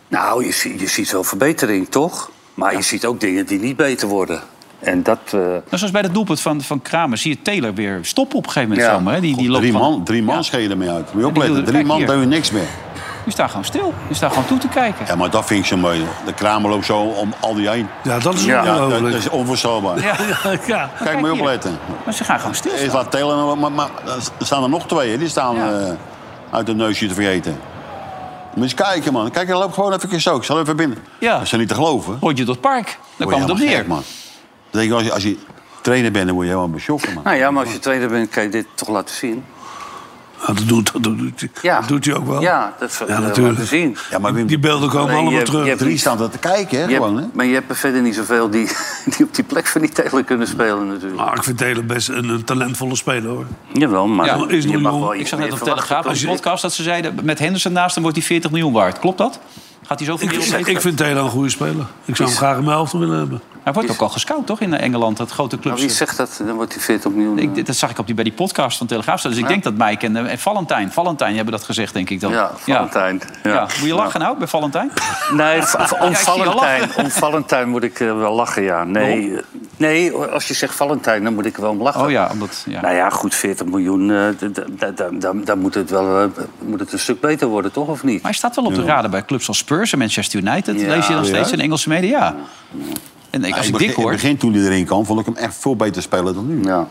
Speaker 4: Nou, je, zie- je ziet wel verbetering, toch? Maar je ziet ook dingen die niet beter worden. En dat... eh,
Speaker 2: Nou, zoals bij dat doelpunt van, van Kramer zie je Taylor weer stoppen op een gegeven moment.
Speaker 4: Ja.
Speaker 2: zomaar, hè? Die, die loopt
Speaker 3: Drie
Speaker 2: van-
Speaker 3: man, drie man
Speaker 2: Ja.
Speaker 3: schelen ermee uit. Moet
Speaker 2: Ja,
Speaker 3: je
Speaker 2: die
Speaker 3: opletten,
Speaker 2: wilde-
Speaker 3: drie
Speaker 2: kijk
Speaker 3: man
Speaker 2: hier.
Speaker 3: doen je niks meer.
Speaker 2: Die staan gewoon stil. Die staan gewoon toe te kijken.
Speaker 3: Ja, maar dat vind ik zo mooi. De kramer loopt zo om al die heen.
Speaker 5: Ja, dat
Speaker 2: is
Speaker 3: dat,
Speaker 2: ongelooflijk.
Speaker 3: is onvoorstelbaar.
Speaker 2: Ja.
Speaker 5: Ja, ja.
Speaker 3: Kijk, moet je
Speaker 2: hier.
Speaker 3: opletten.
Speaker 2: Maar ze gaan gewoon
Speaker 3: Is
Speaker 2: stilstaan.
Speaker 3: laat Taylor nou- maar, maar er staan er nog twee, hè? die staan eh, uit hun neusje te vergeten. Moet je eens kijken, man. Kijk, hij loopt gewoon even zo. Ik zal even binnen.
Speaker 2: Ja.
Speaker 3: Dat is niet te geloven.
Speaker 2: Rondje door het park. Daar
Speaker 3: Word je
Speaker 2: kwam het op
Speaker 3: helemaal
Speaker 2: neer.
Speaker 3: gek, man. Dat denk ik, als je, als je trainer bent, dan word je helemaal beschokken, man.
Speaker 4: Nou ja, maar als je tweede bent, kan je dit toch laten zien.
Speaker 5: Ja, Ah, dat, doet, dat, doet, dat doet hij ook wel.
Speaker 4: Ja, dat is
Speaker 5: Ja, natuurlijk.
Speaker 4: laten zien.
Speaker 3: Ja, maar Wim,
Speaker 5: Die beelden komen
Speaker 4: Alleen,
Speaker 5: allemaal
Speaker 4: je-
Speaker 5: terug.
Speaker 4: je hebt
Speaker 3: drie staan er te kijken, hè,
Speaker 4: Je
Speaker 3: gewoon, hè?
Speaker 4: hebt- maar je hebt er verder niet zoveel die, die op die plek van die Taylor kunnen spelen natuurlijk.
Speaker 5: Ah, ik vind Taylor best een, een talentvolle speler, hoor.
Speaker 4: Jawel, maar
Speaker 5: Ja, is nog
Speaker 4: je mag
Speaker 5: jong.
Speaker 4: wel
Speaker 2: Ik
Speaker 4: iets
Speaker 2: zag net
Speaker 4: meer
Speaker 2: op de
Speaker 4: verwachten,
Speaker 2: Telegraaf op
Speaker 4: toch?
Speaker 2: de podcast dat ze zeiden... met Henderson naast hem wordt hij 40 miljoen waard. Klopt dat? Gaat hij zoveel
Speaker 5: Ik,
Speaker 2: miljoen
Speaker 5: ik vind Taylor een goede speler. Ik zou hem graag in mijn helft willen hebben.
Speaker 2: Hij wordt ook al gescout, toch, in eh, Engeland? Dat grote clubs.
Speaker 4: Nou, wie zegt dat? Dan wordt hij 40 miljoen.
Speaker 2: Ik- dit- dat zag ik op die, bij die podcast van Telegraaf staan. Dus ik denk dat Mike en, eh, en Valentijn... Valentijn hebben dat gezegd, denk ik dan.
Speaker 4: Ja, Valentijn. Ja.
Speaker 2: Ja, Moet je lachen nou, bij Valentijn?
Speaker 4: Nee, va-
Speaker 2: Ja,
Speaker 4: om,
Speaker 2: ik zie je
Speaker 4: Valentijn,
Speaker 2: lachen.
Speaker 4: om Valentijn moet ik eh, wel lachen, ja. Nee, eh, nee, als je zegt Valentijn, dan moet ik er wel om lachen.
Speaker 2: Oh ja, omdat... Ja.
Speaker 4: Nou ja, goed, 40 miljoen, eh, d- d- d- d- dan- dan moet het wel eh, moet het een stuk beter worden, toch? Of niet?
Speaker 2: Maar hij staat wel op de
Speaker 4: Ja.
Speaker 2: radar bij clubs als Spurs en Manchester United.
Speaker 4: Ja.
Speaker 2: Lees je dan steeds
Speaker 3: Ja.
Speaker 2: in Engelse media? En ik,
Speaker 3: Ja,
Speaker 2: als
Speaker 3: in
Speaker 2: ik
Speaker 3: begin-
Speaker 2: dik hoor...
Speaker 3: In het begin toen hij erin kwam, vond ik hem echt veel beter spelen dan nu.
Speaker 4: Ja.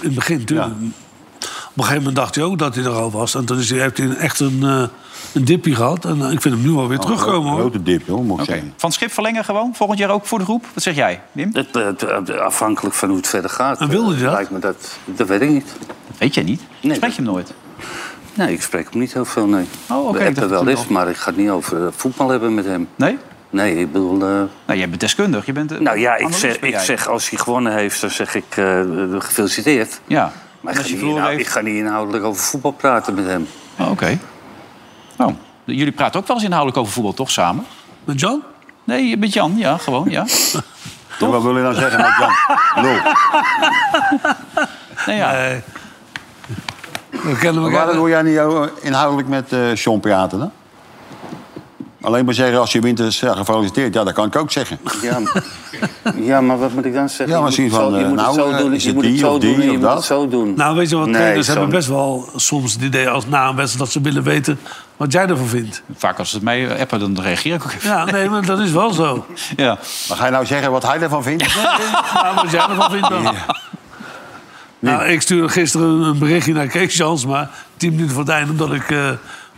Speaker 5: In het begin, natuurlijk. Op een gegeven moment dacht hij ook dat hij er al was. En toen is hij, heeft hij echt een, eh een dipje gehad. En eh, ik vind hem nu
Speaker 4: Oh,
Speaker 5: alweer terugkomen, hoor.
Speaker 3: Oh, Grote dip, hoor, moet ik
Speaker 2: Oké.
Speaker 3: zeggen.
Speaker 2: Van Schip verlengen gewoon? Volgend jaar ook voor de groep? Wat zeg jij, Wim?
Speaker 4: Het, eh, het- het- afhankelijk van hoe het verder gaat.
Speaker 5: En wilde je
Speaker 4: eh,
Speaker 5: dat?
Speaker 4: Lijkt me dat, dat weet ik niet.
Speaker 2: Weet jij niet?
Speaker 4: Nee,
Speaker 2: Spreek je hem nooit?
Speaker 4: Nee, ik spreek hem niet heel veel, nee.
Speaker 2: Oh, oké,
Speaker 4: We
Speaker 2: ik dacht
Speaker 4: hebben wel
Speaker 2: toen
Speaker 4: eens, maar ik ga het niet over eh, voetbal hebben met hem.
Speaker 2: Nee?
Speaker 4: Nee, ik bedoel... eh,
Speaker 2: Nou, jij bent deskundig. Je bent eh,
Speaker 4: nou ja, ik
Speaker 2: analist
Speaker 4: zeg,
Speaker 2: ben
Speaker 4: ik
Speaker 2: jij.
Speaker 4: zeg als hij gewonnen heeft, dan zeg ik eh, eh, gefeliciteerd.
Speaker 2: Ja. En
Speaker 4: Maar ik
Speaker 2: als
Speaker 4: ga,
Speaker 2: je
Speaker 4: niet
Speaker 2: verloren
Speaker 4: inhou-
Speaker 2: heeft-
Speaker 4: ik ga niet inhoudelijk over voetbal praten met hem.
Speaker 2: Oh, Oké. Nou, jullie praten ook wel eens inhoudelijk over voetbal, toch, samen?
Speaker 5: Met Jan?
Speaker 2: Nee, met Jan, ja, gewoon, ja.
Speaker 3: Ja, wat wil je dan zeggen met Jan? Lul.
Speaker 2: Nee, ja.
Speaker 5: Nee. Eh, We kennen
Speaker 4: Oh,
Speaker 3: Maar
Speaker 5: elkaar.
Speaker 3: waarom wil jij niet jou, eh, inhoudelijk met eh Sean praten dan? Alleen maar zeggen als je wint is eh, gefeliciteerd. Ja, dat kan ik ook zeggen.
Speaker 4: Ja, maar- ja, maar wat moet ik dan zeggen?
Speaker 3: Ja, maar
Speaker 4: je
Speaker 3: zien
Speaker 4: moet het
Speaker 3: van,
Speaker 4: zo- je
Speaker 3: eh,
Speaker 4: moet het
Speaker 3: nou,
Speaker 4: zo
Speaker 3: eh,
Speaker 4: doen,
Speaker 3: is
Speaker 4: je
Speaker 3: het
Speaker 4: moet het
Speaker 3: die
Speaker 4: zo
Speaker 3: of
Speaker 4: doen,
Speaker 3: die
Speaker 4: je
Speaker 3: of
Speaker 4: moet
Speaker 3: dat?
Speaker 4: het zo doen.
Speaker 5: Nou, weet je wat,
Speaker 4: Nee,
Speaker 5: trainers
Speaker 4: zo-
Speaker 5: hebben best wel soms het idee als na een wedstrijd... dat ze willen weten wat jij ervan vindt.
Speaker 2: Vaak als ze het mij eh, appen, dan reageer ik ook even.
Speaker 5: Ja, nee, maar dat is wel zo.
Speaker 2: Ja.
Speaker 3: Maar ga je nou zeggen wat hij ervan vindt?
Speaker 5: Nou, wat jij ervan vindt dan. Nou, ik stuurde gisteren een berichtje naar Kees Jansma. Tien minuten voor het einde, omdat ik... eh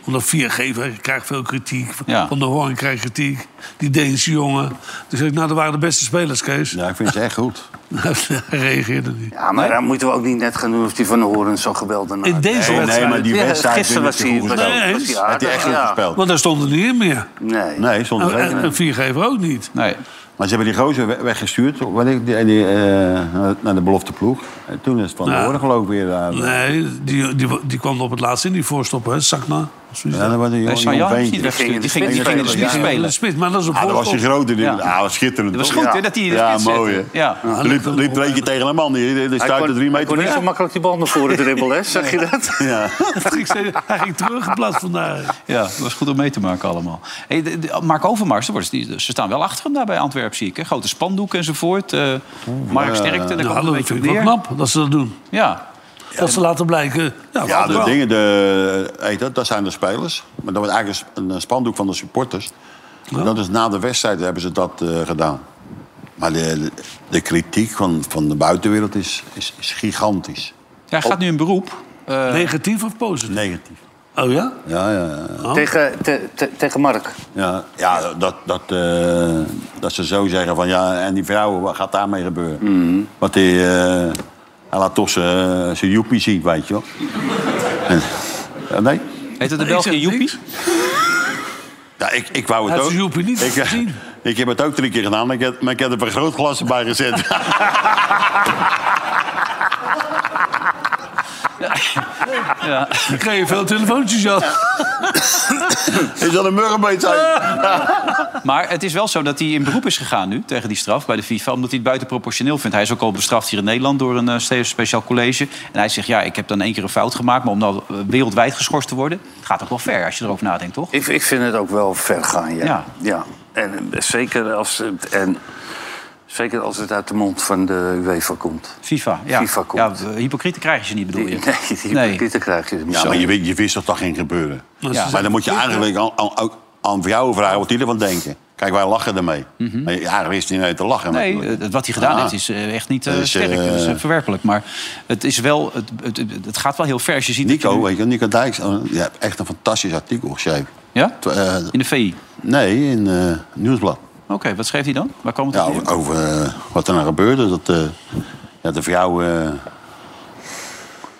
Speaker 5: omdat 4G krijg veel kritiek.
Speaker 2: Ja.
Speaker 5: Van de Hoorn krijg kritiek. Die Deense jongen. Dus zei ik, nou, dat waren de beste spelers, Kees.
Speaker 3: Ja, ik vind ze echt goed.
Speaker 5: Hij reageerde niet.
Speaker 4: Ja, maar dan moeten we ook niet net gaan doen of die van de Horen zo geweldig
Speaker 5: In deze
Speaker 4: Nee,
Speaker 5: wedstrijd.
Speaker 3: Nee, maar die
Speaker 4: Ja,
Speaker 3: wedstrijd
Speaker 4: gisteren
Speaker 3: vind ik
Speaker 4: was
Speaker 3: goed
Speaker 4: hij-
Speaker 3: gespeeld.
Speaker 5: Nee,
Speaker 4: was hij
Speaker 3: Heeft hij
Speaker 4: aardig,
Speaker 3: echt goed
Speaker 4: ja.
Speaker 3: gespeeld?
Speaker 5: Want daar stond er niet in meer.
Speaker 4: Nee.
Speaker 3: Nee, zonder
Speaker 5: Oh, En,
Speaker 3: reden.
Speaker 5: en 4G ook niet.
Speaker 2: Nee.
Speaker 3: Maar ze hebben die gozer we- weggestuurd wanneer, die, die, eh, naar de belofte ploeg. En toen is het van de
Speaker 5: Ja.
Speaker 3: horen geloof ik weer. eh, daar.
Speaker 5: Nee, die, die, die kwam op het laatste in, die voorstopper, hè, Sakna.
Speaker 3: Ja, dat was een jong- jong ventje.
Speaker 5: Die ging
Speaker 3: Die ging- die ging
Speaker 5: in de spits spelen. De spits, maar dat is op
Speaker 3: Ah, dat was die
Speaker 5: voorstop.
Speaker 3: grote. Die,
Speaker 5: Ja.
Speaker 3: ah, wat schitterend.
Speaker 5: Dat was
Speaker 3: toch?
Speaker 5: goed,
Speaker 3: ja.
Speaker 5: hè, dat hij in de
Speaker 3: Ja,
Speaker 5: spits
Speaker 3: mooi. hè?
Speaker 5: zette. Ja.
Speaker 3: Ja, Liep, liep er eentje tegen een man. Die, die stuitte
Speaker 4: kon-
Speaker 3: drie
Speaker 4: hij
Speaker 3: meter
Speaker 4: kon niet
Speaker 3: weg.
Speaker 4: zo makkelijk die bal naar voren dribbelen, hè? Zag je dat?
Speaker 3: Ja.
Speaker 5: Dat ging steeds- Hij ging terug in plaats van daar.
Speaker 2: Ja, dat was goed om mee te maken allemaal. Hey, de- de- Mark Overmars, daar worden ze, die- ze staan wel achter hem daar bij Antwerpen, zie ik. Hè? Grote spandoeken enzovoort. eh Mark Sterkte, daar
Speaker 5: Ja,
Speaker 2: komt het een
Speaker 5: Nou, dat
Speaker 2: beetje
Speaker 5: vind
Speaker 2: op
Speaker 5: ik wel
Speaker 2: neer.
Speaker 5: knap dat ze dat doen.
Speaker 2: Ja.
Speaker 5: Dat ze laten blijken. Ja,
Speaker 3: Ja,
Speaker 5: valt
Speaker 3: de
Speaker 5: wel.
Speaker 3: dingen, de, heet dat, dat zijn de spelers. Maar dat was eigenlijk een s- een spandoek van de supporters. En dat is na de wedstrijd hebben ze dat eh, gedaan. Maar de, de kritiek van, van de buitenwereld is, is, is gigantisch.
Speaker 2: Hij gaat nu in beroep. Eh,
Speaker 5: Negatief of positief?
Speaker 3: Negatief.
Speaker 5: Oh ja?
Speaker 3: Ja, ja, ja.
Speaker 4: Tegen, te- te- tegen Mark.
Speaker 3: Ja, ja dat, dat, eh, dat ze zo zeggen van ja, en die vrouwen, wat gaat daarmee gebeuren? Want die, eh, hij laat toch zijn zijn joepie zien, weet je wel. En- ja, nee?
Speaker 2: Heet het de Belgische Joepie?
Speaker 3: Ja, ik, ik wou het
Speaker 5: Hij
Speaker 3: ook.
Speaker 5: heeft zijn joepie niet
Speaker 3: ik, eh, ik heb het ook drie keer gedaan, maar ik heb, maar ik heb er vergrootglassen bij gezet.
Speaker 2: Ja.
Speaker 5: Dan krijg je veel telefoontjes aan.
Speaker 3: Is dat een muggenbeet zijn?
Speaker 2: Maar het is wel zo dat hij in beroep is gegaan nu tegen die straf bij de FIFA. Omdat hij het buitenproportioneel vindt. Hij is ook al bestraft hier in Nederland door een eh, ste- speciaal college. En hij zegt, ja, ik heb dan één keer een fout gemaakt. Maar om nou eh, wereldwijd geschorst te worden, het gaat toch wel ver als je erover nadenkt, toch?
Speaker 4: Ik, ik vind het ook wel ver gaan, ja.
Speaker 2: Ja.
Speaker 4: ja. En, eh, zeker als, het- en zeker als het uit de mond van de UEFA komt.
Speaker 2: FIFA, ja.
Speaker 4: FIFA
Speaker 2: ja
Speaker 4: komt.
Speaker 2: eh, hypocrieten krijgen ze niet, bedoel je?
Speaker 4: Nee, die hypocrieten krijg je er niet.
Speaker 3: Ja,
Speaker 4: zo.
Speaker 3: maar je, weet- je wist dat dat ging gebeuren. Maar dan moet je eigenlijk aan, aan, ook aan vrouwen vragen wat die ervan denken. Kijk, wij lachen ermee. Maar je- eigenlijk is hij niet te lachen.
Speaker 2: Nee,
Speaker 3: natuurlijk.
Speaker 2: eh, wat hij gedaan
Speaker 3: Ah.
Speaker 2: heeft is eh, echt niet eh,
Speaker 4: Dus,
Speaker 3: Dat is,
Speaker 2: sterk.
Speaker 3: eh,
Speaker 2: Dat is eh, verwerpelijk. Maar het, is wel, het, het, het- het gaat wel heel ver. Als je ziet dat je
Speaker 3: Nico,
Speaker 2: nu-
Speaker 3: weet je, Nico Dijks, eh, je hebt echt een fantastisch artikel geschreven. eh,
Speaker 2: Ja? in de VI?
Speaker 3: Nee, in eh Nieuwsblad.
Speaker 2: Oké, wat schreef hij dan? Waar kwam het
Speaker 3: Ja,
Speaker 4: Nou,
Speaker 2: op neer?
Speaker 3: over, over, eh, wat er nou gebeurde. Dat eh, ja, de vrouwen, eh,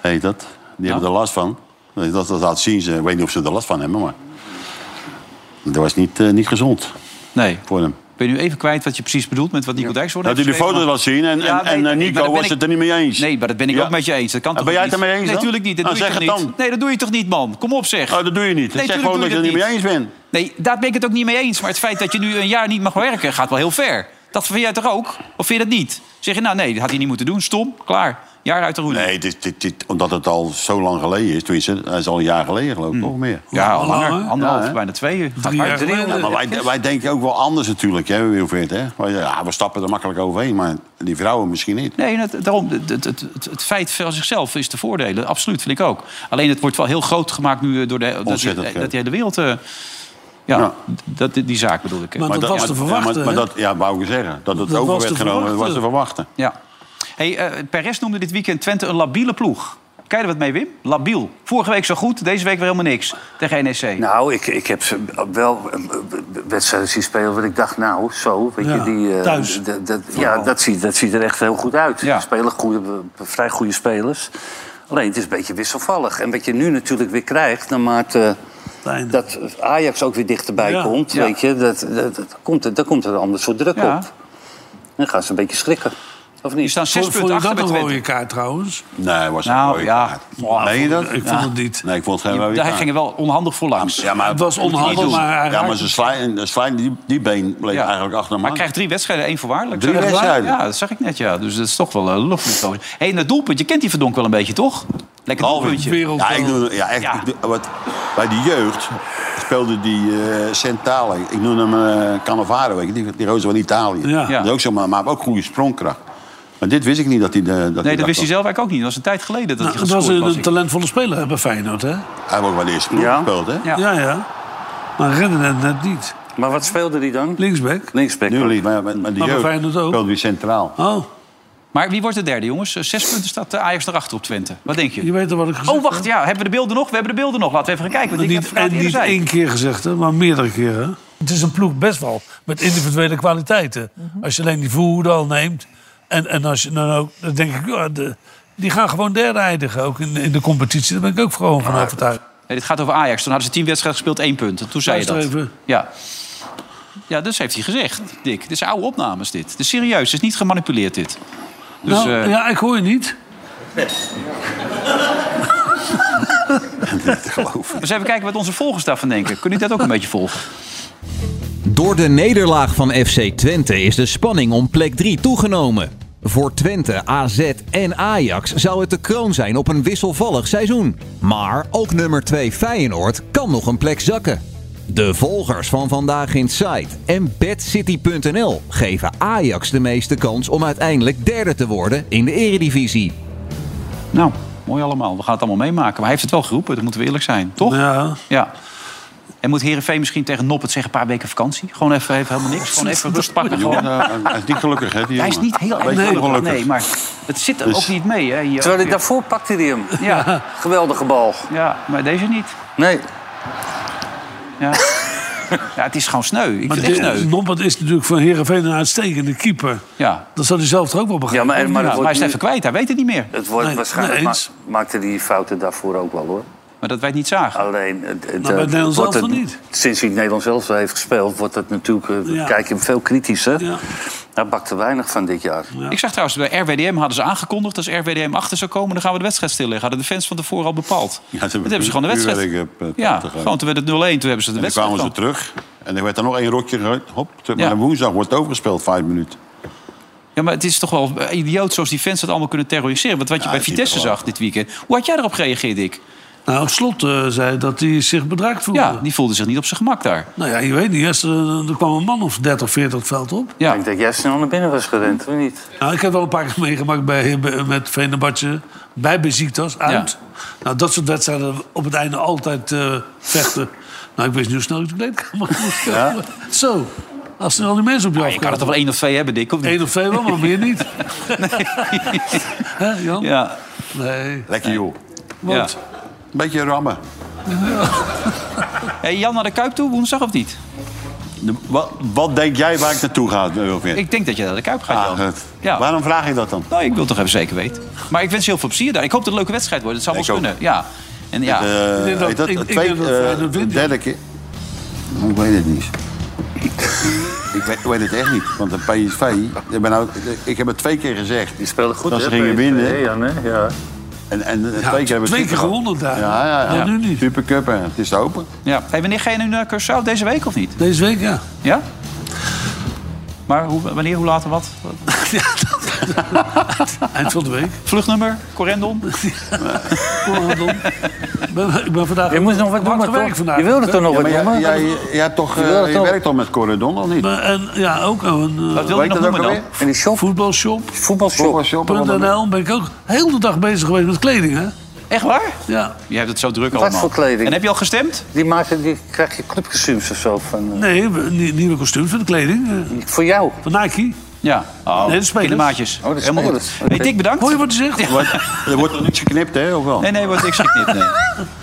Speaker 3: heet dat, die hebben er last van. Dat, dat laat zien, ze, ik weet niet of ze er last van hebben, maar... Dat was niet, eh, niet gezond
Speaker 2: Nee.
Speaker 3: voor hem.
Speaker 2: Ben je nu even kwijt wat je precies bedoelt met wat Nico Dijks wordt
Speaker 3: Dat u die foto's laat zien en, en, en eh, Nico was het er niet mee eens.
Speaker 2: Nee, maar dat ben ik
Speaker 3: Ja.
Speaker 2: ook met je eens. Dat kan
Speaker 3: En
Speaker 2: toch
Speaker 3: ben jij
Speaker 2: niet?
Speaker 3: het ermee eens
Speaker 2: Nee,
Speaker 3: dan?
Speaker 2: natuurlijk niet. Dat
Speaker 3: Nou,
Speaker 2: doe je
Speaker 3: zeg
Speaker 2: toch
Speaker 3: het
Speaker 2: niet? Nee, dat doe je toch niet, man? Kom op, zeg.
Speaker 3: Oh, dat doe je niet.
Speaker 2: Nee,
Speaker 3: zeg
Speaker 2: tuurlijk doe
Speaker 3: gewoon dat
Speaker 2: je
Speaker 3: je er
Speaker 2: dat
Speaker 3: niet mee eens
Speaker 2: niet.
Speaker 3: bent.
Speaker 2: Nee, daar ben ik het ook niet mee eens. Maar het feit dat je nu een jaar niet mag werken gaat wel heel ver. Dat vind jij toch ook? Of vind je dat niet? Zeg je, nou nee, dat had hij niet moeten doen. Stom, klaar. Jaar uit de roede.
Speaker 3: Nee, dit, dit, dit, omdat het al zo lang geleden is. Tenminste, het is al een jaar geleden geloof ik, nog meer.
Speaker 2: Ja, al langer.
Speaker 3: hè?
Speaker 2: Anderhalf,
Speaker 3: Ja, hè?
Speaker 2: bijna twee. uur. Gaat
Speaker 5: Drie
Speaker 2: maar
Speaker 5: jaar
Speaker 2: drie.
Speaker 5: geleden.
Speaker 3: Ja, maar wij, wij denken ook wel anders natuurlijk, hè, Wilfred. Hè? Wij, ja, we stappen er makkelijk overheen, maar die vrouwen misschien niet.
Speaker 2: Nee, net- daarom, het, het, het, het- het feit van zichzelf is te voordelen. Absoluut, vind ik ook. Alleen het wordt wel heel groot gemaakt nu eh, door de, dat, die,
Speaker 3: Ontzettend
Speaker 2: dat
Speaker 3: groot.
Speaker 2: die hele wereld... eh, ja,
Speaker 3: Ja.
Speaker 2: Dat, die zaak bedoel ik. eh.
Speaker 5: Maar dat was te verwachten,
Speaker 3: Ja, maar,
Speaker 5: hè?
Speaker 3: dat ja, wou ik zeggen. Dat het
Speaker 5: Dat
Speaker 3: over
Speaker 5: was
Speaker 3: werd
Speaker 5: te
Speaker 3: genomen, dat was
Speaker 5: verwachten.
Speaker 3: te verwachten.
Speaker 2: Ja. Hey, eh, Perez noemde dit weekend Twente een labiele ploeg. Kijk er wat mee, Wim? Labiel. Vorige week zo goed, deze week weer helemaal niks tegen NEC.
Speaker 4: Nou, ik, ik heb ze wel eh, wedstrijden zien spelen wat ik dacht, nou, zo. Weet
Speaker 2: Ja,
Speaker 4: je, die, eh,
Speaker 2: thuis.
Speaker 4: d- d- ja, dat ziet, dat ziet er echt heel goed uit. Ze Spelen goede, eh, vrij goede spelers. Alleen het is een beetje wisselvallig. En wat je nu natuurlijk weer krijgt, naarmate eh, dat Ajax ook weer dichterbij
Speaker 5: Ja,
Speaker 4: komt,
Speaker 5: ja.
Speaker 4: weet je, dat, dat, dat komt, er- daar komt er een ander soort druk
Speaker 5: Ja.
Speaker 4: op. En dan gaan ze een beetje schrikken. Of niet?
Speaker 2: staan
Speaker 5: Vond, vond je dat een rode kaart trouwens?
Speaker 3: Nee, was een
Speaker 2: Nou,
Speaker 3: mooie
Speaker 2: ja.
Speaker 3: kaart.
Speaker 5: Ja,
Speaker 3: Meen je dat?
Speaker 5: ik vond
Speaker 3: Ja.
Speaker 5: het niet.
Speaker 3: Nee, ik vond het geen rode
Speaker 2: Daar
Speaker 3: kaart.
Speaker 2: gingen wel onhandig voor langs.
Speaker 3: Ja, maar,
Speaker 5: Het was
Speaker 3: moet je niet
Speaker 5: onhandig,
Speaker 3: doen.
Speaker 5: maar hij
Speaker 3: Ja,
Speaker 5: raakte
Speaker 3: maar zijn slijn, de slijn, die, die been bleef
Speaker 2: Ja.
Speaker 3: eigenlijk achter
Speaker 2: Maar
Speaker 3: hem hangen.
Speaker 2: hij krijgt drie wedstrijden, één voorwaarlijk.
Speaker 3: Drie
Speaker 2: Zo, dat is waar.
Speaker 3: wedstrijden?
Speaker 2: Ja, dat zag ik net, ja. Dus dat is toch wel een lof. Hé, en dat doelpunt, je kent die verdonk wel een beetje, toch? Lekker doelpuntje.
Speaker 3: Ja,
Speaker 5: eh,
Speaker 3: ik noem, ja, echt,
Speaker 2: Ja.
Speaker 3: ik doe- wat, bij de jeugd speelde die eh Centale. Ik noem hem eh Cannavaro, weet je, die, die roze van Italië.
Speaker 5: Ja.
Speaker 3: Dat is ook zo, maar, maar ook goede sprongkracht. Maar dit wist ik niet dat hij... de- Dat
Speaker 2: Nee, dat wist hij
Speaker 3: kon.
Speaker 2: zelf eigenlijk ook niet. Dat was een tijd geleden dat
Speaker 5: Nou,
Speaker 2: hij
Speaker 5: het was
Speaker 2: gescoord
Speaker 5: een,
Speaker 2: was.
Speaker 5: een talentvolle speler hè, bij Feyenoord, hè?
Speaker 3: Hij heeft ook wel eerst ploeg
Speaker 4: Ja.
Speaker 3: gespeeld, hè?
Speaker 2: Ja.
Speaker 5: Ja, ja. Maar redde het net niet.
Speaker 4: Maar wat speelde die dan?
Speaker 5: Linksback.
Speaker 4: Linksback.
Speaker 3: Nu niet, maar, maar, maar die
Speaker 5: Maar bij
Speaker 3: jeugd
Speaker 5: Feyenoord ook.
Speaker 3: speelde weer centraal.
Speaker 5: Oh,
Speaker 2: Maar wie wordt de derde, jongens? Zes punten staat eh, Ajax erachter op Twente. Wat denk je?
Speaker 5: je weet al wat ik gezegd
Speaker 2: Oh, wacht, ja. Hebben we de beelden nog? We hebben de beelden nog. Laten we even gaan kijken.
Speaker 5: heb.
Speaker 2: Want
Speaker 5: Niet,
Speaker 2: ik heb
Speaker 5: en niet één keer gezegd, hè, maar meerdere keren. Het is een ploeg best wel met individuele kwaliteiten.
Speaker 2: Mhm.
Speaker 5: Als je alleen die voerder al neemt. En, en als je dan ook, dan denk ik, ja, de, die gaan gewoon derde eindigen. Ook in, in de competitie, daar ben ik ook gewoon van overtuigd.
Speaker 2: Nee, dit gaat over Ajax. Toen hadden ze tien wedstrijden gespeeld, één punt. Toen zei je
Speaker 5: Luister
Speaker 2: dat.
Speaker 5: even.
Speaker 2: Ja. Ja, dus heeft hij gezegd, Dick. Dit zijn oude opnames, dit. Dit is serieus, het is niet gemanipuleerd, dit. Dus,
Speaker 5: nou,
Speaker 2: eh,
Speaker 5: ja, ik hoor je niet.
Speaker 2: Dus even kijken wat onze volgers daarvan denken. Kunnen jullie dat ook een beetje volgen?
Speaker 6: Door de nederlaag van FC Twente is de spanning om plek 3 toegenomen. Voor Twente, AZ en Ajax zou het de kroon zijn op een wisselvallig seizoen. Maar ook nummer 2 Feyenoord kan nog een plek zakken. De volgers van Vandaag in Site en BadCity.nl geven Ajax de meeste kans om uiteindelijk derde te worden in de eredivisie.
Speaker 2: Nou, mooi allemaal. We gaan het allemaal meemaken. Maar hij heeft het wel geroepen, dat moeten we eerlijk zijn, toch?
Speaker 5: Ja.
Speaker 2: ja. En moet Herenveen misschien tegen Noppet zeggen: een paar weken vakantie? Gewoon even, even helemaal niks. Gewoon even rust pakken. Gewoon.
Speaker 3: Jongen, hij is niet gelukkig, hè? Die
Speaker 2: Hij is
Speaker 3: eh, jongen.
Speaker 2: niet heel
Speaker 3: Hij is
Speaker 2: erg
Speaker 3: niet
Speaker 2: gelukkig.
Speaker 3: gelukkig.
Speaker 2: Nee, maar het zit er
Speaker 3: Dus-
Speaker 2: ook niet mee. Hè, hier.
Speaker 4: Terwijl hij daarvoor pakte hij hem.
Speaker 2: Ja.
Speaker 4: Geweldige bal.
Speaker 2: Ja, maar deze niet.
Speaker 4: Nee.
Speaker 2: Ja. ja, het is gewoon sneu. Ik
Speaker 5: Maar
Speaker 2: vind het echt
Speaker 5: de-
Speaker 2: sneu.
Speaker 5: Noppert is natuurlijk voor Heerenveen een uitstekende keeper.
Speaker 2: Ja.
Speaker 5: Dat zal hij zelf toch ook wel
Speaker 4: Ja,
Speaker 5: begrijpen.
Speaker 4: maar, maar,
Speaker 5: of
Speaker 4: het
Speaker 5: niet?
Speaker 4: wordt
Speaker 2: hij is
Speaker 4: nu-
Speaker 2: even kwijt, hij weet het niet meer.
Speaker 4: Het wordt
Speaker 5: Nee,
Speaker 4: waarschijnlijk
Speaker 5: nee,
Speaker 4: ma-
Speaker 5: eens.
Speaker 4: maakte die fouten daarvoor ook wel hoor.
Speaker 2: Maar dat wij het niet zagen.
Speaker 4: Alleen het, het,
Speaker 5: Nou,
Speaker 4: eh,
Speaker 5: bij het Nederlands
Speaker 4: wordt
Speaker 5: elftal
Speaker 4: het-
Speaker 5: niet.
Speaker 4: Sinds hij het Nederlands elftal heeft gespeeld, wordt dat natuurlijk eh,
Speaker 2: Ja.
Speaker 4: kijk je hem veel kritischer. Hij bakte weinig van dit jaar.
Speaker 2: Ik zag trouwens, eh, bij RWDM hadden ze aangekondigd... als RWDM achter zou komen, dan gaan we de wedstrijd stilleggen. Hadden de fans van tevoren al bepaald. dat hebben ze gewoon de wedstrijd.
Speaker 3: vuurwerk, eh,
Speaker 2: ja,
Speaker 3: te gaan.
Speaker 2: gewoon toen werd het 0-1, toen hebben ze de
Speaker 3: En dan
Speaker 2: wedstrijd.
Speaker 3: kwamen ze
Speaker 2: gewoon.
Speaker 3: terug. En er werd er nog één rotje gegooid. Hop, terug.
Speaker 2: Ja.
Speaker 3: Maar woensdag wordt het overgespeeld, vijf minuten.
Speaker 2: Ja, maar het is toch wel eh, idioot zoals die fans dat allemaal kunnen terroriseren. Want wat je bij Vitesse zag dit weekend. Hoe had jij erop gereageerd, Dick?
Speaker 5: Nou, op slot eh, zei dat hij zich bedreigd voelde.
Speaker 2: Ja, die voelde zich niet op zijn gemak daar.
Speaker 5: Nou ja, je weet niet. Eerst, eh, er kwam een man of 30, 40 het veld op.
Speaker 2: Ja.
Speaker 4: Ik denk dat jij snel naar binnen was gerend, of niet?
Speaker 5: Nou, ik heb wel een paar keer meegemaakt bij, bij- met Venebatje. Bij Beziktas, uit. Nou, dat soort wedstrijden op het einde altijd eh, vechten. Nou, ik wist nu snel uit de kleedkamer moest komen. Zo, als er al die mensen op je
Speaker 2: Nou, Je kan er toch wel één of twee hebben, Dick? Of niet?
Speaker 5: Eén of twee wel, maar meer niet. Hè, Jan?
Speaker 2: Ja.
Speaker 5: Nee.
Speaker 3: Lekker joh.
Speaker 5: Want?
Speaker 3: Een beetje rammen.
Speaker 2: Hey, Jan naar de Kuip toe, woensdag of niet?
Speaker 3: De- wat, wat denk jij waar ik naartoe ga, Wilfried?
Speaker 2: Ik denk dat je naar de Kuip gaat,
Speaker 3: Ah,
Speaker 2: Jan.
Speaker 3: het-
Speaker 2: Ja.
Speaker 3: Waarom vraag je dat dan?
Speaker 2: Nou, ik wil toch even zeker weten. Maar ik wens je heel veel plezier daar. Ik hoop dat het een leuke wedstrijd wordt. Het zou wel
Speaker 3: Ik ook.
Speaker 2: kunnen. Ja. En ja.
Speaker 3: Eh,
Speaker 5: denk dat-
Speaker 3: heet dat,
Speaker 5: ik-
Speaker 3: het
Speaker 5: ik
Speaker 3: tweede,
Speaker 5: denk dat wij
Speaker 3: eh,
Speaker 5: dat winnen.
Speaker 3: derde keer? Ik weet het niet. ik, weet, ik weet het echt niet. Want de PSV... Ik, ben nou, ik heb het twee keer gezegd.
Speaker 4: Die speelde goed,
Speaker 3: Dat ze
Speaker 4: hè,
Speaker 3: gingen
Speaker 4: PSV,
Speaker 3: winnen.
Speaker 4: hè, Jan, hè? Ja.
Speaker 3: En, en twee keer
Speaker 5: Ja,
Speaker 3: hebben we
Speaker 5: twee keer
Speaker 3: Supercup.
Speaker 5: gewonnen daar.
Speaker 3: Ja, ja, ja.
Speaker 5: Ja, nu niet.
Speaker 3: Supercup en het is open.
Speaker 2: ja. Hey, wanneer ga je nu naar Curaçao? Deze week of niet?
Speaker 5: Deze week, ja.
Speaker 2: Ja? Maar hoe, wanneer, hoe laat en wat?
Speaker 5: Eind van de week.
Speaker 2: Vluchtnummer? Corendon?
Speaker 5: Pardon. Ik ben- Ik ben vandaag...
Speaker 4: Je moest nog wat doen,
Speaker 5: hard
Speaker 4: maar
Speaker 5: gewerkt
Speaker 4: toch?
Speaker 5: vandaag.
Speaker 4: Je wilde toch nog
Speaker 3: Ja,
Speaker 4: wat
Speaker 3: maar
Speaker 4: doen,
Speaker 3: jij,
Speaker 4: maar-
Speaker 3: jij, jij hebt toch, eh,
Speaker 4: wil het
Speaker 3: je
Speaker 4: toch-
Speaker 3: werkt al met Corridon, of niet?
Speaker 5: Maar, en, ja, ook een eh,
Speaker 2: Wat wil je nog noemen dan?
Speaker 4: En die shop?
Speaker 5: voetbalshop.
Speaker 4: Voetbalshop.
Speaker 3: Voetbalshop.
Speaker 5: NL ben ik ook heel de dag bezig geweest met kleding, hè?
Speaker 2: Echt waar?
Speaker 5: Ja.
Speaker 2: Je hebt het zo druk
Speaker 4: Wat
Speaker 2: allemaal.
Speaker 4: voor kleding?
Speaker 2: En heb je al gestemd?
Speaker 4: Die, maakte, die krijg je clubcostumes of zo van... eh,
Speaker 5: Nee, we- nie- nieuwe kostuums voor de kleding. eh,
Speaker 4: Voor jou.
Speaker 5: Van Nike.
Speaker 2: Ja. Oh,
Speaker 5: Nee, de spelers.
Speaker 2: kindermaatjes.
Speaker 4: Oh, de
Speaker 2: Helemaal goed.
Speaker 4: spelers.
Speaker 2: Hey, Dick, bedankt.
Speaker 5: Hoor je wat hij zegt?
Speaker 3: Wordt- Er wordt nog niks geknipt, hè, of wel?
Speaker 2: Nee, nee, wat, ik schrik niet. Nee.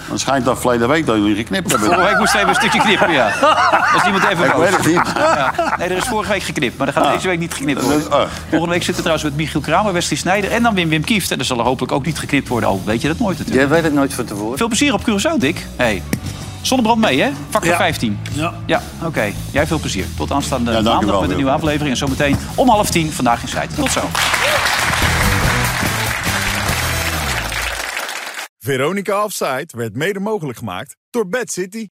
Speaker 3: Dan schijnt dat verleden week dat jullie geknipt
Speaker 2: Vorige
Speaker 3: hebben.
Speaker 2: week moest even een stukje knippen, ja. Als iemand even
Speaker 3: Ik
Speaker 2: boos.
Speaker 3: weet het niet.
Speaker 2: Ja. Nee, er is vorige week geknipt, maar er gaat deze week niet geknipt worden.
Speaker 3: Dat is- ah.
Speaker 2: Volgende week zitten trouwens met Michiel Kramer, Wesley Snijder en dan Wim Wim Kieft. En er zal er hopelijk ook niet geknipt worden. Al weet je dat nooit natuurlijk.
Speaker 4: Jij weet het nooit van tevoren.
Speaker 2: Veel plezier op Curaçao, Dick. Hey. Zonnebrand mee, hè? Factor
Speaker 5: Ja.
Speaker 2: 15.
Speaker 5: Ja.
Speaker 2: Ja, oké. Jij veel plezier. Tot aanstaande
Speaker 3: dank u
Speaker 2: maandag
Speaker 3: wel,
Speaker 2: met een nieuwe
Speaker 3: Wilco.
Speaker 2: aflevering. En zometeen om half tien vandaag in Zuid. Tot zo.
Speaker 7: Veronica Offside werd mede mogelijk gemaakt door Bad City.